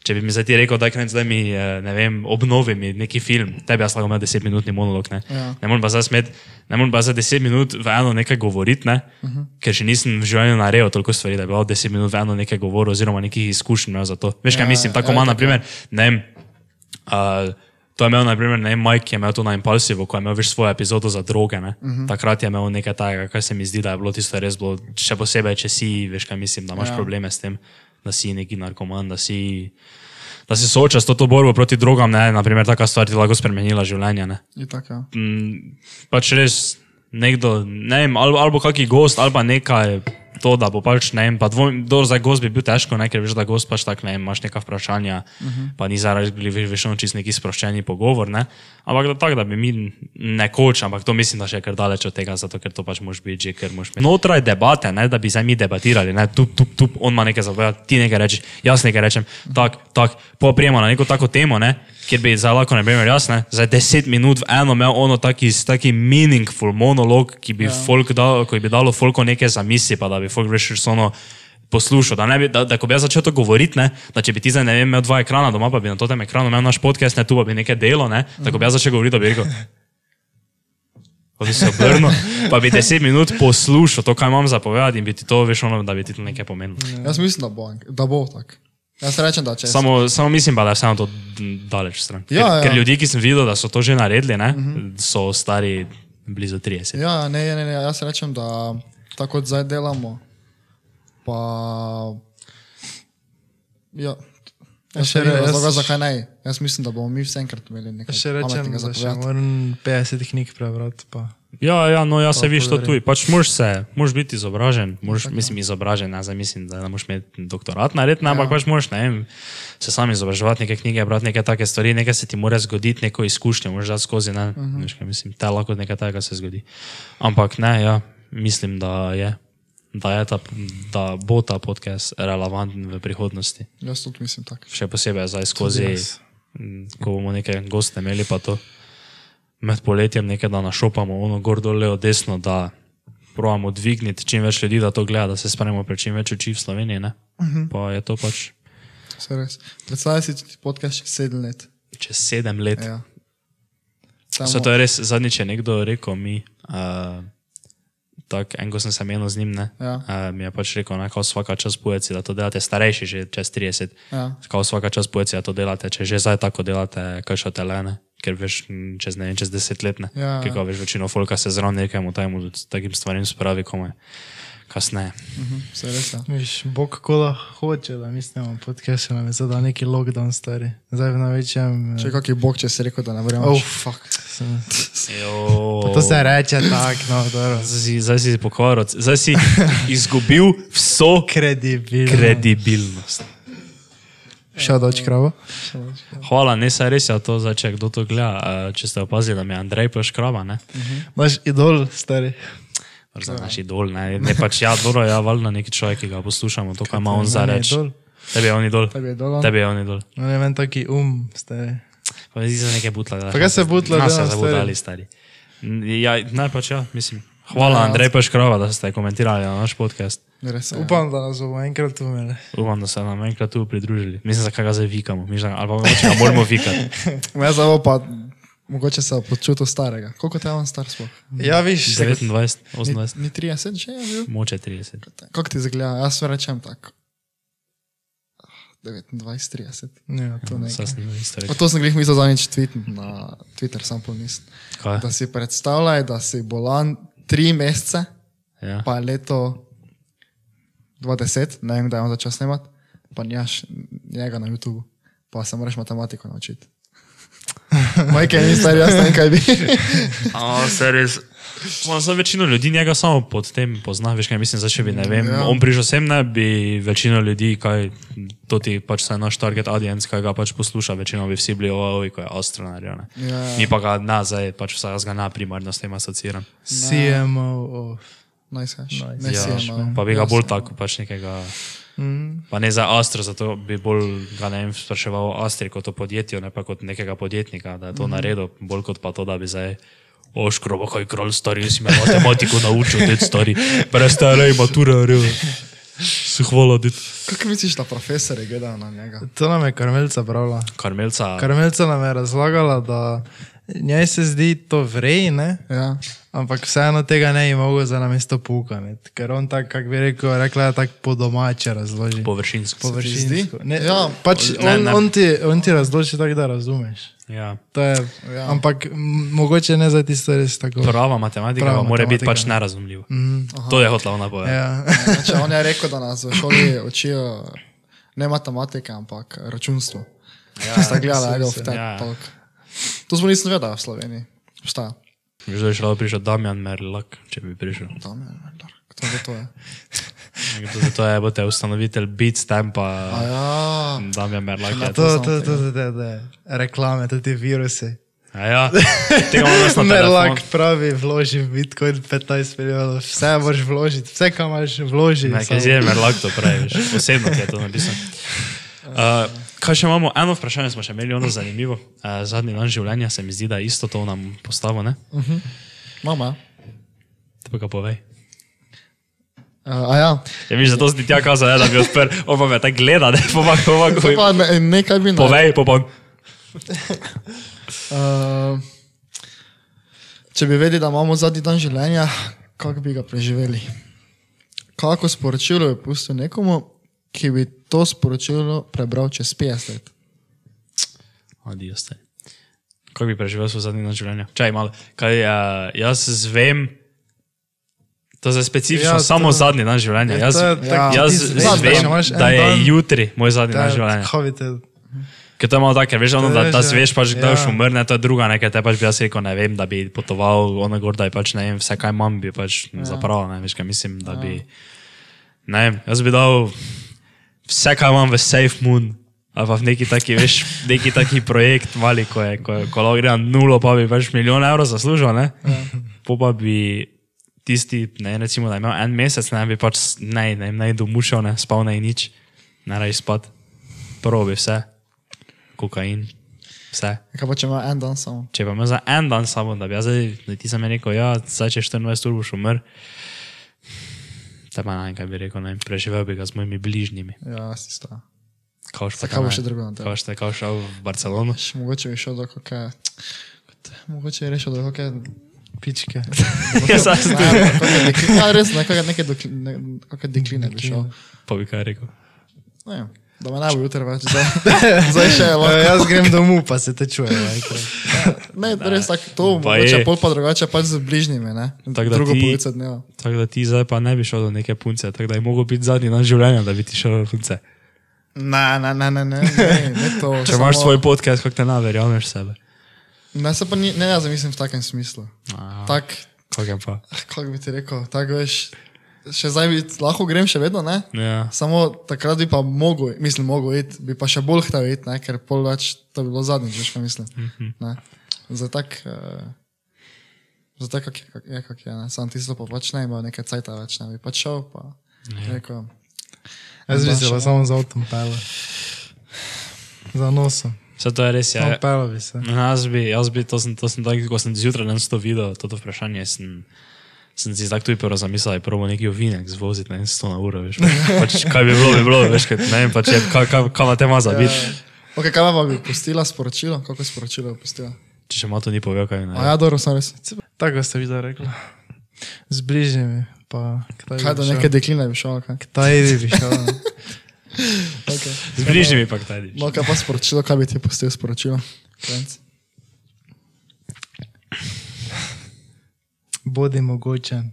[SPEAKER 1] Če bi mi zdaj ti rekel, da je zdaj mi, eh, ne vem, obnovi mi neki film, tebi jaz lahko imam 10-minutni monolog, ne.
[SPEAKER 2] Ja.
[SPEAKER 1] Ne morem pa zdaj smet, ne morem pa za 10 minut v eno nekaj govoriti, ne? uh -huh. ker še nisem v življenju naredil toliko stvari, da bi lahko 10 minut v eno nekaj govoril, oziroma nekih izkušenj imel za to. Veš, kaj
[SPEAKER 2] Ja,
[SPEAKER 1] mislim, tako
[SPEAKER 2] ja,
[SPEAKER 1] ima,
[SPEAKER 2] tako.
[SPEAKER 1] na primer, ne vem. Uh, to je imel, na primer, ne vem, Mike, ki je imel to na Impulsivu, ko je imel več svojo epizodo za droge. Uh
[SPEAKER 2] Mhm.
[SPEAKER 1] -huh. Takrat je imel nekaj takega, kar se mi zdi, da je bilo tisto res bilo, še posebej, če si, veš, kaj mislim, da imaš ja. probleme s tem, da si neki narkoman, da si. Da se soočaš s to, to borbo proti drogam, ne, naprimer, taka stvar ti je lahko spremenila življenje. Ne
[SPEAKER 2] Itak, ja.
[SPEAKER 1] m, pač res nekdo, ne vem, ali, ali bo kaki gost, ali pa nekaj. To, da bo pač ne vem, pa dvomim, do zdaj gost bi bil težko, ne, ker veš, da gost pač tako ne vem, imaš neka vprašanja, uh -huh. pa ni zaradi bili veš, veš on čist neki sproščeni pogovor, ne. Ampak da tako, da bi mi nekoč, ampak to mislim, da še je kar daleč od tega, zato ker to pač moraš biti že, ker moraš imeti. Notraj debate, ne, da bi zdaj mi debatirali, ne, tu, tu, tu, on ima nekaj zavedati, ti nekaj rečeš, jaz nekaj rečem, tak, tak, poprijemo na neko tako temo, ne, kjer bi za lahko, ne vem, jaz ne, za 10 minut v eno imel ono taki, taki meaningful monolog, ki bi, ja. folk dal, ki bi dalo folko neke zamisli, pa da bi folk rešil s ono. po- poslušal, da, ne bi, da, da ko bi jaz začel to govoriti, ne, da če bi ti zdaj ne vem, imel dva ekrana doma, pa bi na tem ekranu imel naš podcast, ne tu pa bi nekaj delo, ne, da ko bi jaz začel govoriti, da bi rekel. Pa bi se obrnil, pa bi deset minut poslušal to, kaj imam zapovedati in bi ti to, veš, ono, da bi ti to nekaj pomenilo.
[SPEAKER 2] Jaz mislim, da bo, ank- da bo tako. Jaz rečem, da če.
[SPEAKER 1] Samo, samo mislim pa, da je vseeno to daleč stran. Ker,
[SPEAKER 2] Ja, Mhm. ja.
[SPEAKER 1] ker ljudi, ki sem videl, da so to že naredili, ne, so stari blizu 30.
[SPEAKER 2] Ja, ne, ne, ne, jaz rečem, da tako kot zdaj delamo. Pa, ja. Jaz
[SPEAKER 3] še
[SPEAKER 2] še
[SPEAKER 3] re- jaz-
[SPEAKER 2] rečem, zakaj naj. Jaz mislim, da bomo mi vse enkrat imeli nekaj
[SPEAKER 3] Še rečem,
[SPEAKER 2] pametnega
[SPEAKER 3] da
[SPEAKER 2] za
[SPEAKER 3] še
[SPEAKER 2] povedati.
[SPEAKER 3] moram 50 knjig prebrati. Pa.
[SPEAKER 1] Ja, ja, no, ja, se viš to
[SPEAKER 3] povdarjam.
[SPEAKER 1] tuj. Pač moraš se, moraš biti izobražen, moraš,
[SPEAKER 2] ja.
[SPEAKER 1] mislim, izobražen, ne, zdaj mislim, da ne moreš imeti doktorat na red,
[SPEAKER 2] Ja.
[SPEAKER 1] ampak pač moraš, ne vem, se sam izobraževati neke knjige, brati neke take stvari, nekaj se ti mora zgoditi, neko izkušnjo, moraš dati skozi, ne, uh
[SPEAKER 2] Mhm.
[SPEAKER 1] -huh. veš, kaj mislim, ta lahko nekaj takega se zgodi. Ampak ne, ja, mislim, da je, da, je ta, da bo ta podcast relevanten v prihodnosti,
[SPEAKER 2] Jaz tudi mislim tako.
[SPEAKER 1] še posebej zdaj skozi,
[SPEAKER 3] jaz.
[SPEAKER 1] m, ko bomo neke goste imeli pa to med poletjem nekaj, da našopamo ono gor dol, levo, desno, da provodimo dvigniti čim več ljudi, da to gleda, da se spremo pred čim več oči v Sloveniji. Uh -huh. Pa je to pač
[SPEAKER 2] Saj res. Predstavljaj si ti podcast čez sedem let.
[SPEAKER 1] čez sedem let. Ja,
[SPEAKER 2] Ja.
[SPEAKER 1] Vse
[SPEAKER 2] Samo,
[SPEAKER 1] to je res zadnjič je nekdo rekel mi. Uh, Tako, en ko sem se menil z njim, ne,
[SPEAKER 2] Ja.
[SPEAKER 1] uh, mi je pač rekel, da vsaka čas pojeci, da to delate starejši, že čez 30.
[SPEAKER 2] Ja.
[SPEAKER 1] Kao vsaka čas pojeci, da to delate, če že zdaj tako delate, kašate lene, ker veš, m, mm, čez ne vem, čez desetletne.
[SPEAKER 2] Ja,
[SPEAKER 1] Ker
[SPEAKER 2] ja.
[SPEAKER 1] kao veš, večino folka se zraven nekemu tajmu, takim stvarem spravi, kome kasneje.
[SPEAKER 2] saj res. Ja.
[SPEAKER 3] Viš, bog kola hoče, da mi snimamo podcast, nam je zadal neki lockdown stari. Zdaj v največjem... eh,
[SPEAKER 2] Če kak je bog, če si rekel, da ne verjamem.
[SPEAKER 3] Oh, fuck. Sem...
[SPEAKER 1] Jo.
[SPEAKER 3] To se reče tako, no, dobro.
[SPEAKER 1] Zdaj si, zdaj si pokvaril, zdaj si izgubil vso
[SPEAKER 3] Kredibilno.
[SPEAKER 1] kredibilnost.
[SPEAKER 3] Šel doč kravo.
[SPEAKER 1] Hvala, ne se res je to, zdaj, če kdo to gleda. eh, Če ste opazili, da mi je Andrej poškraba, ne?
[SPEAKER 3] Naš idol, stari.
[SPEAKER 1] Za naš idol, ne, ne pač ja, dobro, ja, valjda neki človek, ki ga poslušamo, to, kar ima on za
[SPEAKER 3] meni
[SPEAKER 1] reči.
[SPEAKER 3] idol?
[SPEAKER 1] Tebi je on idol.
[SPEAKER 2] Tebi je dolo.
[SPEAKER 1] Tebi je on idol.
[SPEAKER 3] No, ne vem, taki um, stari.
[SPEAKER 1] Pa mi zdi se nekaj butla. da-
[SPEAKER 3] Pa kaj se butla,
[SPEAKER 1] Nas
[SPEAKER 3] da
[SPEAKER 1] se
[SPEAKER 3] nas
[SPEAKER 1] zabudali, stari. N- Ja, naj pač ja, mislim. Hvala, Andrej Paškrava, da ste komentirali na naš podcast.
[SPEAKER 2] Res, ja.
[SPEAKER 3] Upam, da nas bomo enkrat umeli.
[SPEAKER 1] Upam, da se nam enkrat tu pridružili. Mislim, zakaj ga zdaj vikamo. Mislim, ali pa mogoče ga moramo vikati.
[SPEAKER 2] Jaz zavo Ja, pa, mogoče se počutil starega. Koliko te je on star sploh?
[SPEAKER 3] Ja, viš,
[SPEAKER 1] 29,
[SPEAKER 2] Ni,
[SPEAKER 1] 28,
[SPEAKER 2] ni 30 že je bil?
[SPEAKER 1] moče 30.
[SPEAKER 2] Kako ti zgleda? Jaz vam rečem tako. 29, 30.
[SPEAKER 3] Ja, to ne.
[SPEAKER 1] Saj sem isto
[SPEAKER 2] Pa
[SPEAKER 1] rekel.
[SPEAKER 2] to sem jih mislil zadnjič tweetniti na Twitter, sam pa nisem.
[SPEAKER 1] Kaj?
[SPEAKER 2] Da si predstavljaj, da si bolan tri mesece,
[SPEAKER 1] Ja.
[SPEAKER 2] pa je leto 20, ne vem, da je on začel snemati, pa njaš njega na YouTubu, pa se moraš matematiko naučiti. Majke, ni star, jaz ne vem, kaj bi.
[SPEAKER 1] A, se res. Ma, za večino ljudi njega samo pod tem pozna, veš kaj mislim, zdaj če bi ne vem. Ja. On prišel sem, ne bi večino ljudi, kaj to ti pač se naš target audience, kaj ga pač posluša, večino bi vsi bili ovi, ko je astronarjo.
[SPEAKER 2] Ja,
[SPEAKER 1] Ja.
[SPEAKER 2] ja.
[SPEAKER 1] Ni pa ga na, zdaj pač vsaj jaz ga na primarno s tem asociram.
[SPEAKER 3] CMO of.
[SPEAKER 2] Nice hash.
[SPEAKER 3] Nice
[SPEAKER 2] Ne si
[SPEAKER 1] Ja,
[SPEAKER 2] imel.
[SPEAKER 1] pa bi ga bolj tako pač nekega.
[SPEAKER 3] Mm.
[SPEAKER 1] Pa ne za Astro, zato bi bolj ga ne vem, spraševal o Astri kot o podjetju, ne pa kot nekega podjetnika, da je
[SPEAKER 3] Mhm.
[SPEAKER 1] to mm. naredil, bolj kot pa to, da bi zdaj. Oškrobo, kaj kralj stari, si me matematiko naučil, te stari, prestare in matura, rejo. Se hvala, dit.
[SPEAKER 2] Kako misliš, da profesori gledajo na njega?
[SPEAKER 3] To nam je karmelca pravila.
[SPEAKER 1] Karmelca, Kar...
[SPEAKER 3] Karmelca nam je razlagala, da njej se zdi to vrej, ne?
[SPEAKER 2] Ja.
[SPEAKER 3] Ampak vseeno tega ne bi mogel za namesto puka, ne? ker on tako, kako bi rekel, rekla je tako po domače razloži.
[SPEAKER 1] površinsko.
[SPEAKER 3] Površinsko.
[SPEAKER 2] zdi?
[SPEAKER 3] Ne,
[SPEAKER 2] Ja,
[SPEAKER 3] ja, pač
[SPEAKER 1] ne,
[SPEAKER 3] on,
[SPEAKER 1] ne.
[SPEAKER 3] on, ti, on ti razloži tako, da razumeš.
[SPEAKER 1] Ja.
[SPEAKER 3] To Je,
[SPEAKER 2] Ja.
[SPEAKER 3] ja. Ampak m, mogoče ne za tisto res tako.
[SPEAKER 1] Prava matematika
[SPEAKER 3] Prava
[SPEAKER 1] Prava mora biti
[SPEAKER 3] matematika,
[SPEAKER 1] pač
[SPEAKER 3] ne.
[SPEAKER 1] nerazumljiva. Mm, to je hotla ona povedati.
[SPEAKER 3] Ja.
[SPEAKER 2] Če on je rekel, da nas v šoli učijo ne matematike, ampak računstvo. Ja, Sta gledala, da je v tem
[SPEAKER 1] ja.
[SPEAKER 2] talk. To smo nisem vedela v Sloveniji. Šta?
[SPEAKER 1] Že zdaj je šlo, prišel Damjan Merlak, če bi prišel.
[SPEAKER 2] Tam je, vendar. Kdo bo to ja. je?
[SPEAKER 1] Nekdo Zato je, bote, ustanovitelj Beatstampa.
[SPEAKER 2] A ja.
[SPEAKER 1] Damjan Merlak je to.
[SPEAKER 3] To, to, to, to, to, to, reklame, tudi virusi.
[SPEAKER 1] A Ja, tega imamo jaz na
[SPEAKER 3] Merlak
[SPEAKER 1] telefon.
[SPEAKER 3] pravi, vloži v Bitcoin 15 milijonov, vse moraš vložiti, vse, kar imaš, vloži.
[SPEAKER 1] Nekaj
[SPEAKER 3] samo-
[SPEAKER 1] zelo Merlak to praviš, osebno ti je to napisano. Uh, kaj še imamo? Eno vprašanje smo še imeli, ono zanimivo. Uh, zadnji dan življenja se mi zdi, da je isto to nam postavo, ne?
[SPEAKER 2] Mama.
[SPEAKER 1] Te pa ga povej.
[SPEAKER 2] Uh, a ja,
[SPEAKER 1] Ja, viš, zato si ti tja kazal, ne, da bi odprl, on pa me tako gleda, ne, pomak, pomak,
[SPEAKER 2] to pa ne, nekaj bi naredil.
[SPEAKER 1] povej, popom.
[SPEAKER 2] Uh, če bi vedeli, da imamo zadnji dan življenja, kako bi ga preživeli? Kako sporočilo je pustil nekomu, ki bi to sporočilo prebral čez 50 let?
[SPEAKER 1] Adijo ste. Kako bi preživel svoj zadnji dan življenja? Čaj, malo. Kaj, uh, jaz zvem, to je specifično, ja,
[SPEAKER 3] Ja,
[SPEAKER 1] to...
[SPEAKER 3] to-
[SPEAKER 1] samo zadnji dan življenja.
[SPEAKER 3] Ja,
[SPEAKER 1] Jaz,
[SPEAKER 3] to je
[SPEAKER 1] ja.
[SPEAKER 3] tako,
[SPEAKER 1] jaz
[SPEAKER 3] ti
[SPEAKER 1] zvem,
[SPEAKER 3] zveš,
[SPEAKER 1] da,
[SPEAKER 3] da če imaš en
[SPEAKER 1] da je
[SPEAKER 3] dan-
[SPEAKER 1] jutri moj zadnji dan življenja.
[SPEAKER 3] Havite.
[SPEAKER 1] Ker to je malo tako, ker veš, ono, da,
[SPEAKER 3] veš,
[SPEAKER 1] da
[SPEAKER 3] ja.
[SPEAKER 1] si veš, pač, kdo ja.
[SPEAKER 3] Ja.
[SPEAKER 1] umrne, to je druga, nekaj te pač bi jaz rekel, ne vem, da bi potoval ono gor, da je pač ne vem, vse kaj imam, bi pač ja. zapravil, ne veš, kaj mislim, da bi, ne vem, jaz bi dal vse, kaj imam v Safe Moon, ali pa v neki taki, veš, neki taki projekt mali, ko je, ko, ko lahko gre na nulo, pa bi pač milijon evrov zaslužil, ne? Ja. Po pa bi tisti, ne, recimo, da je imel en mesec, ne bi pač, s- ne, ne, ne, domušal, ne, spal ne nič, ne raje spat, probi vse kokain, vse.
[SPEAKER 2] Kaj pa če ima en dan samo?
[SPEAKER 1] Če pa imaš za en dan samo, da bi jaz zdaj, da ti sem rekel, ja, zdaj če 24 ur boš umrl, te pa ne vem, kaj bi rekel, ne, vem, preživel bi ga z mojimi bližnjimi.
[SPEAKER 2] Ja, si sta.
[SPEAKER 1] Kao še
[SPEAKER 2] Za kaj boš še drugega naredil?
[SPEAKER 1] Kao še, kao šel v Barcelono.
[SPEAKER 2] Še Mogoče bi šel do kakšne, mogoče je rešil do kakšne.
[SPEAKER 3] Pičke.
[SPEAKER 1] Ja, saj sem tu.
[SPEAKER 2] Ja, res, na kakšne neke dokli- ne- kakšne dekline bi šel.
[SPEAKER 1] Pa bi kaj rekel.
[SPEAKER 2] Ne vem, Da me ne bo jutri več, zdaj, zdaj še je lahko.
[SPEAKER 3] Ja, jaz grem domov, pa se ja, te čujem.
[SPEAKER 2] Ne, res tako, to
[SPEAKER 1] Pa
[SPEAKER 2] mogoče
[SPEAKER 1] je.
[SPEAKER 2] pol pa drugače, pač z bližnjimi, ne?
[SPEAKER 1] Tako da
[SPEAKER 2] Drugo
[SPEAKER 1] ti-
[SPEAKER 2] polovico dneva.
[SPEAKER 1] Tako da ti zdaj pa ne bi šel do neke punce, tako da je mogel biti zadnji dan življenja, da bi ti šel do punce.
[SPEAKER 2] Ne, ne, ne, ne, ne, ne, ne to.
[SPEAKER 1] Če imaš svoj podcast, kako te ne verjameš sebe.
[SPEAKER 2] Ne, se pa ni, ne, jaz mislim v takem smislu. Tak, ah,
[SPEAKER 1] Kako pa?
[SPEAKER 2] kako bi ti rekel, tako veš, še zdaj bi, lahko grem še vedno, ne?
[SPEAKER 1] Ja.
[SPEAKER 2] Samo takrat bi pa mogel, mislim, mogel iti, bi pa še bolj htel iti, ne, ker pol več to bi bilo zadnjič, veš, kaj mislim. Ne. Za tak, uh, za tak, kak je, kak je, kak je, ne, sam tisto pa pač ne, imel nekaj cajta več, ne, bi pač šel, pa rekel,
[SPEAKER 3] Jaz bi se pa samo z avtom pelal. Za nosom.
[SPEAKER 1] Vse to je res, ja.
[SPEAKER 2] No.
[SPEAKER 3] Samo pelal bi se.
[SPEAKER 1] Jaz bi, jaz bi, to sem, to sem tako, ko sem zjutraj danes to videl, to vprašanje, sem, sem si tako tudi prvo zamislil, da je prvo neki ovinek zvoziti na 100 na uro, veš, pač, kaj bi bilo, bi bilo, veš, kaj, ne vem, pač, je, kaj, kaj, kaj ima tema za biti.
[SPEAKER 2] ok, "Ja, kaj pa bi pustila sporočilo, kako sporočilo bi pustila?
[SPEAKER 1] Če še malo to ni povedal, kaj ne.
[SPEAKER 2] A ja, dobro, sem res.
[SPEAKER 3] Tako ste videli, rekla. Z bližnjimi, pa kdaj
[SPEAKER 2] Kaj
[SPEAKER 3] bi
[SPEAKER 2] do
[SPEAKER 3] šel?
[SPEAKER 2] neke dekline bi šel, kaj?
[SPEAKER 3] Kdaj bi šel? ne?
[SPEAKER 2] Okay.
[SPEAKER 1] Z bližnjimi pa kdaj.
[SPEAKER 2] No, kaj pa sporočilo, kaj bi ti pustil sporočilo? Krenc.
[SPEAKER 3] Bodi mogočen.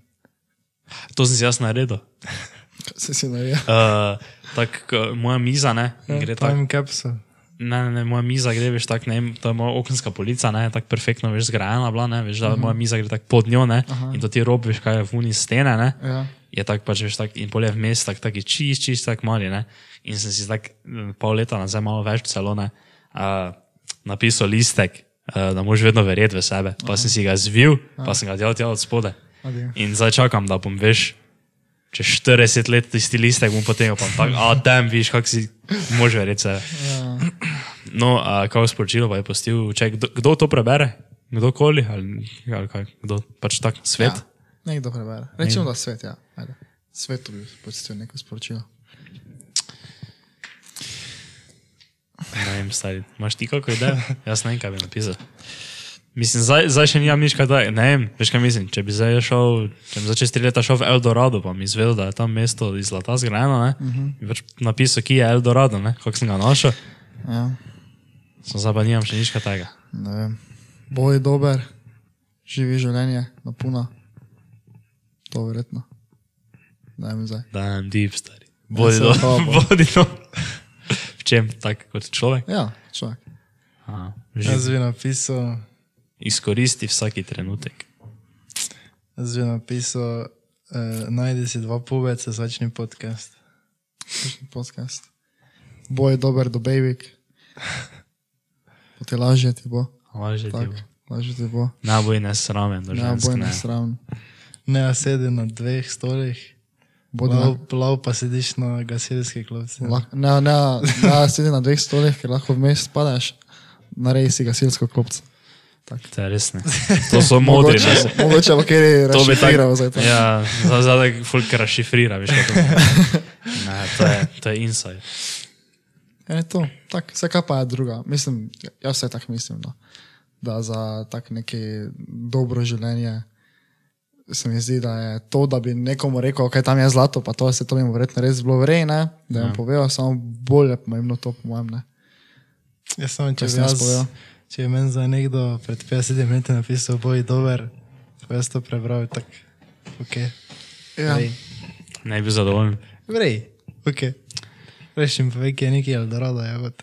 [SPEAKER 1] To sem si jaz naredil.
[SPEAKER 2] Kaj Si si naredil.
[SPEAKER 1] Uh, tako, moja miza, ne,
[SPEAKER 2] Ja,
[SPEAKER 1] gre tako.
[SPEAKER 3] Time capsule.
[SPEAKER 1] Ne, ne, ne, moja miza gre, veš, tako, ne, vem, to je moja okenska polica, ne, tako perfektno, veš, zgrajena bila, ne, veš, da
[SPEAKER 2] Mhm.
[SPEAKER 1] uh -huh. moja miza gre tako pod njo, ne, uh -huh. in to ti rob, veš, kaj je v uni stene, ne,
[SPEAKER 2] Ja.
[SPEAKER 1] je tako pač, veš, tak, in polje vmes, tako taki čist, čist, tako mali, ne, in sem si tako mm, pol leta nazaj, malo več celo, ne, uh, napisal listek, uh, da moš vedno verjeti v sebe, pa uh -huh. sem si ga zvil, pa sem ga delal tja od spode.
[SPEAKER 2] Adijo.
[SPEAKER 1] In zdaj čakam, da bom, veš, čez 40 let tisti listek bom potegnil, pa bom tako, a tam, viš, kak si, moš verjeti v sebe. No, a kako sporočilo pa je postil, če kdo, kdo to prebere, kdorkoli ali, ali kaj, kdo pač tak svet. Ja.
[SPEAKER 2] Nekdo prebere. Rečemo, da svet, ja. Ajde. Svetu bi pustil neko sporočilo.
[SPEAKER 1] Ne vem, stari, imaš ti kako idejo? Jaz ne vem, kaj bi napisal. Mislim, zdaj, zdaj še nimam nič kaj da, ne vem, veš kaj mislim. Če bi zdaj šel, če bi zdaj čez tri leta šel v Eldorado, pa mi izvedel, da je tam mesto iz zlata zgrajeno, ne, uh
[SPEAKER 2] Mhm.
[SPEAKER 1] -huh. bi pač napisal, ki je Eldorado, ne, kako sem ga našel,
[SPEAKER 2] Ja,
[SPEAKER 1] sem zdaj pa nimam še nič kaj tega.
[SPEAKER 2] ne vem. Boj dober, živi življenje, napuna. To verjetno. Ne vem zdaj.
[SPEAKER 1] Da, I'm deep, stari. Bodi
[SPEAKER 2] se
[SPEAKER 1] to,
[SPEAKER 2] dobro.
[SPEAKER 1] bodi to. V čem, tak kot človek?
[SPEAKER 2] Ja, človek.
[SPEAKER 1] Aha, živ.
[SPEAKER 2] Ja,
[SPEAKER 3] Jaz bi napisal,
[SPEAKER 1] Izkoristi vsaki trenutek.
[SPEAKER 3] jaz bi napisal, eh, najdi si dva pubece, začni podcast.
[SPEAKER 2] Podcast. Boj dober do bejvik. Bo ti lažje ti bo.
[SPEAKER 1] Laže ti.
[SPEAKER 2] Tako, lažje ti bo.
[SPEAKER 1] Ne boj nesramen, da
[SPEAKER 2] Ja, boj
[SPEAKER 1] žensk ne.
[SPEAKER 2] nesraven.
[SPEAKER 3] Ne, ja sedi na dveh stolih,
[SPEAKER 2] Bodi na
[SPEAKER 3] plav, plav pa sediš na gasilski klopci.
[SPEAKER 2] Lah- Ne, ne, ne sedi na dveh stolih, ker lahko vmes spadaš, naredi si gasilsko klopco.
[SPEAKER 1] To je res ne. To so modri. ne.
[SPEAKER 2] Mogoče, mogoče bo kjer
[SPEAKER 1] To bi
[SPEAKER 2] rešil, zdaj to.
[SPEAKER 1] Ja, za- zadaj fulk rašifrira, veš kako. Ne, to je, to je inside.
[SPEAKER 2] Ja, je to, tak, vse kaj pa je druga. Mislim, ja, jaz vse tako mislim, no. da za tak neki dobro življenje se mi zdi, da je to, da bi nekomu rekel, kaj tam je zlato, pa to se to jim verjetno res bilo vrej, ne? da jim ja. povejo, samo bolje pomembno to, po mojem, ne.
[SPEAKER 3] Jaz samo če
[SPEAKER 2] Kaj
[SPEAKER 3] bi
[SPEAKER 2] sem jaz
[SPEAKER 3] jaz,
[SPEAKER 2] povedal?
[SPEAKER 3] če bi meni za nekdo pred 50 leti napisal, boj dober, ko jaz to prebral, tak, ok,
[SPEAKER 2] Ja.
[SPEAKER 3] vrej,
[SPEAKER 1] Ne bi bil zadovoljen.
[SPEAKER 3] vrej, ok. Rešim pa veke neki Eldorado, ja, kot.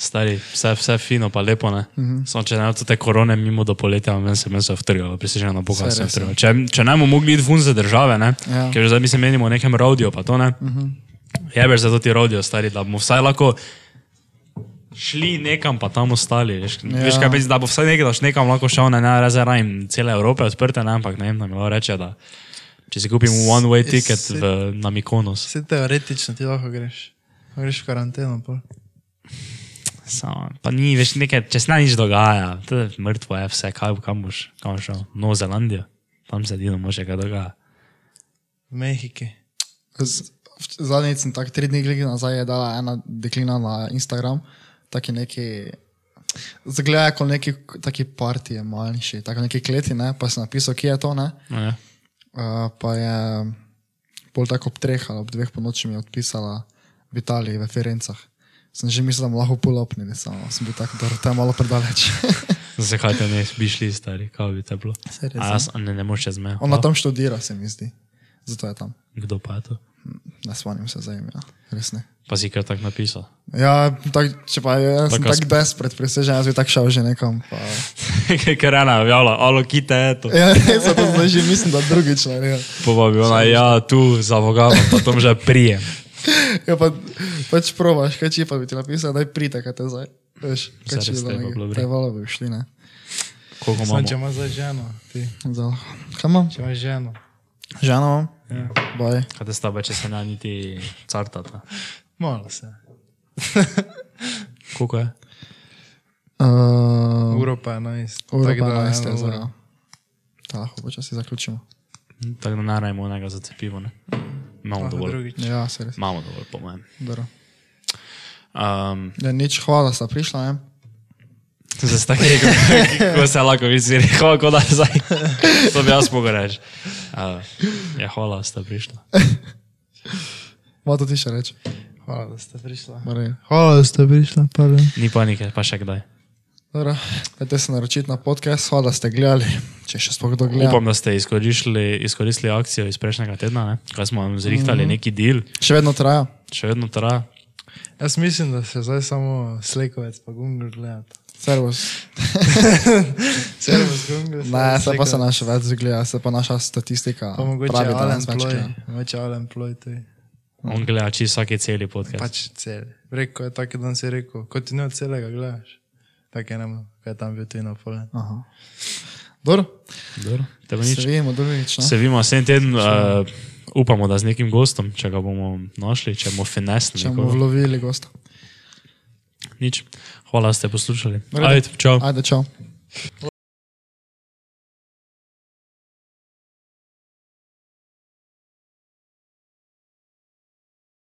[SPEAKER 1] Stari, vse, vse fino, pa lepo. ne.
[SPEAKER 2] Mhm.
[SPEAKER 1] Samo če ne bi te korone mimo do poletja, meni se meni se vtrgalo, prisežem na Boga,
[SPEAKER 2] Saj
[SPEAKER 1] se
[SPEAKER 2] res,
[SPEAKER 1] vtrgalo. Če, če ne bomo mogli iti vun za države, ne?
[SPEAKER 2] Ja. Mhm.
[SPEAKER 1] ker zdaj mi se menimo o nekem rodiju, pa to ne. Jebeš za to ti rodijo, stari, da bomo vsaj lahko šli nekam, pa tam ostali. Veš, ja. veš kaj mislim, da bo vsaj nekaj, daš nekam lahko šel, ne, ne, razen rajem cele Evrope odprte, ne, ampak ne vem, nam je reče, da če si kupim one-way ticket v, na Mikonos,
[SPEAKER 3] Vse teoretično ti lahko greš. Lahko Greš v karanteno, pa.
[SPEAKER 1] Samo, pa ni več nekaj, če se ne nič dogaja, to je mrtvo, je vse, kaj, kam boš, kam boš šel, Novo Zelandijo, tam se edino može kaj dogaja.
[SPEAKER 3] V Mehiki.
[SPEAKER 2] Z- v- Zadnjič sem tako tri dni gledal nazaj, je dala ena deklina na Instagram, taki neki. Zgleda kot neki taki partije manjši, tako neki kleti, ne? pa sem napisal, kje je to. Ne?
[SPEAKER 1] No, ja.
[SPEAKER 2] Uh, pa je bolj tako ob treh ali ob dveh po noči mi je odpisala v Italiji, v Firencah. Sem že mislil, da bomo lahko polopnili, samo sem bil tako, da to je malo predaleč.
[SPEAKER 1] Zakaj te ne bi šli stari, kako bi te bilo?
[SPEAKER 3] Saj res,
[SPEAKER 1] A jaz a ne, ne moreš čez mejo.
[SPEAKER 2] ja. Ona
[SPEAKER 1] A,
[SPEAKER 2] tam študira, se mi zdi. Zato je tam.
[SPEAKER 1] Kdo pa je to?
[SPEAKER 2] Ne spomnim se za ime, ja. res ne.
[SPEAKER 1] Pa si kar tako napisal.
[SPEAKER 2] Ja, tak, če pa jaz sem
[SPEAKER 1] Taka
[SPEAKER 2] tako desperate, presežen, jaz bi tako šel že nekam. Pa...
[SPEAKER 1] Ker ena objavlja, alo, kite je to.
[SPEAKER 2] Ja, res, to zdaj že mislim, da drugič ne. Ja.
[SPEAKER 1] Pa bi ona, ja, tu za vogalom, pa tam že prijem.
[SPEAKER 2] Ja, pa, pač probaš, kaj če pa bi ti napisal, da pride, kaj te zdaj. Veš, kaj če
[SPEAKER 1] Zares
[SPEAKER 2] bi
[SPEAKER 1] te je pa bilo
[SPEAKER 2] bilo.
[SPEAKER 1] brij.
[SPEAKER 2] Te valo bi šli, ne.
[SPEAKER 1] Koliko
[SPEAKER 3] Samo
[SPEAKER 1] imamo?
[SPEAKER 3] če imaš zdaj ženo, ti.
[SPEAKER 2] Zelo. Kaj imam?
[SPEAKER 3] Če imaš ženo.
[SPEAKER 2] Žano imam? Ja. Boj.
[SPEAKER 1] Kaj te stave, če se ne niti cartata?
[SPEAKER 3] Malo se.
[SPEAKER 1] Koliko je?
[SPEAKER 2] Uh,
[SPEAKER 3] Uro pa je 11.
[SPEAKER 2] Uro
[SPEAKER 3] Tako da,
[SPEAKER 2] pa
[SPEAKER 3] eno
[SPEAKER 2] neste,
[SPEAKER 3] uro.
[SPEAKER 2] zelo. Ta lahko počasi zaključimo.
[SPEAKER 1] Tako da narajmo enega za cepivo, ne? Imamo
[SPEAKER 3] Lahko
[SPEAKER 1] dovolj.
[SPEAKER 3] drugič.
[SPEAKER 2] Ja, se res.
[SPEAKER 1] Imamo dovolj, po mojem.
[SPEAKER 2] Dobro.
[SPEAKER 1] Um,
[SPEAKER 2] Ja, nič, hvala, sta prišla, ne.
[SPEAKER 1] Zdaj ste tako rekel, kako se lahko visi rekel, kako da zdaj. To bi jaz mogel reči. Uh, ja, hvala, da ste prišli.
[SPEAKER 2] Malo to ti še reče.
[SPEAKER 3] Hvala, da ste prišla.
[SPEAKER 2] Marija.
[SPEAKER 3] Hvala, da ste prišla, pardon.
[SPEAKER 1] Ni panike, pa še kdaj.
[SPEAKER 2] Dobro, dajte se naročiti na podcast, hvala, da ste gledali. Če še sploh kdo gleda.
[SPEAKER 1] Upam, da ste izkoristili, izkoristili akcijo iz prejšnjega tedna, ne? kaj smo vam zrihtali, neki del,
[SPEAKER 2] Še vedno traja.
[SPEAKER 1] še vedno traja.
[SPEAKER 3] Jaz mislim, da se zdaj samo slekovec pa Google gledata.
[SPEAKER 2] Servus.
[SPEAKER 3] Servus Google.
[SPEAKER 2] Ne, se pa se
[SPEAKER 3] Slakovec.
[SPEAKER 2] naša več gleda, se pa naša statistika.
[SPEAKER 3] Pa mogoče
[SPEAKER 2] pravi, pač, ja. da
[SPEAKER 3] Alan
[SPEAKER 2] nas več
[SPEAKER 3] Ploy,
[SPEAKER 2] gleda.
[SPEAKER 3] mogoče Alan Ploy tudi.
[SPEAKER 1] On gleda čisto vsaki celi podcast.
[SPEAKER 3] Pač cel. Rekel je tako, da si rekel, kot ti ne od celega gledaš. Tako je nam, kaj je tam bil ti na pole.
[SPEAKER 2] Aha. Dobro,
[SPEAKER 1] Dobro, te bo nič.
[SPEAKER 2] se vidimo drugič. no. ne?
[SPEAKER 1] Pač, Se vidimo vsem teden, uh, upamo, da z nekim gostom, če ga bomo našli, če bomo finesni.
[SPEAKER 2] Če bomo vlovili gosta.
[SPEAKER 1] Nič. Hvala, da ste poslušali.
[SPEAKER 2] Ajde.
[SPEAKER 1] Ajde, čau.
[SPEAKER 2] Ajde, čau.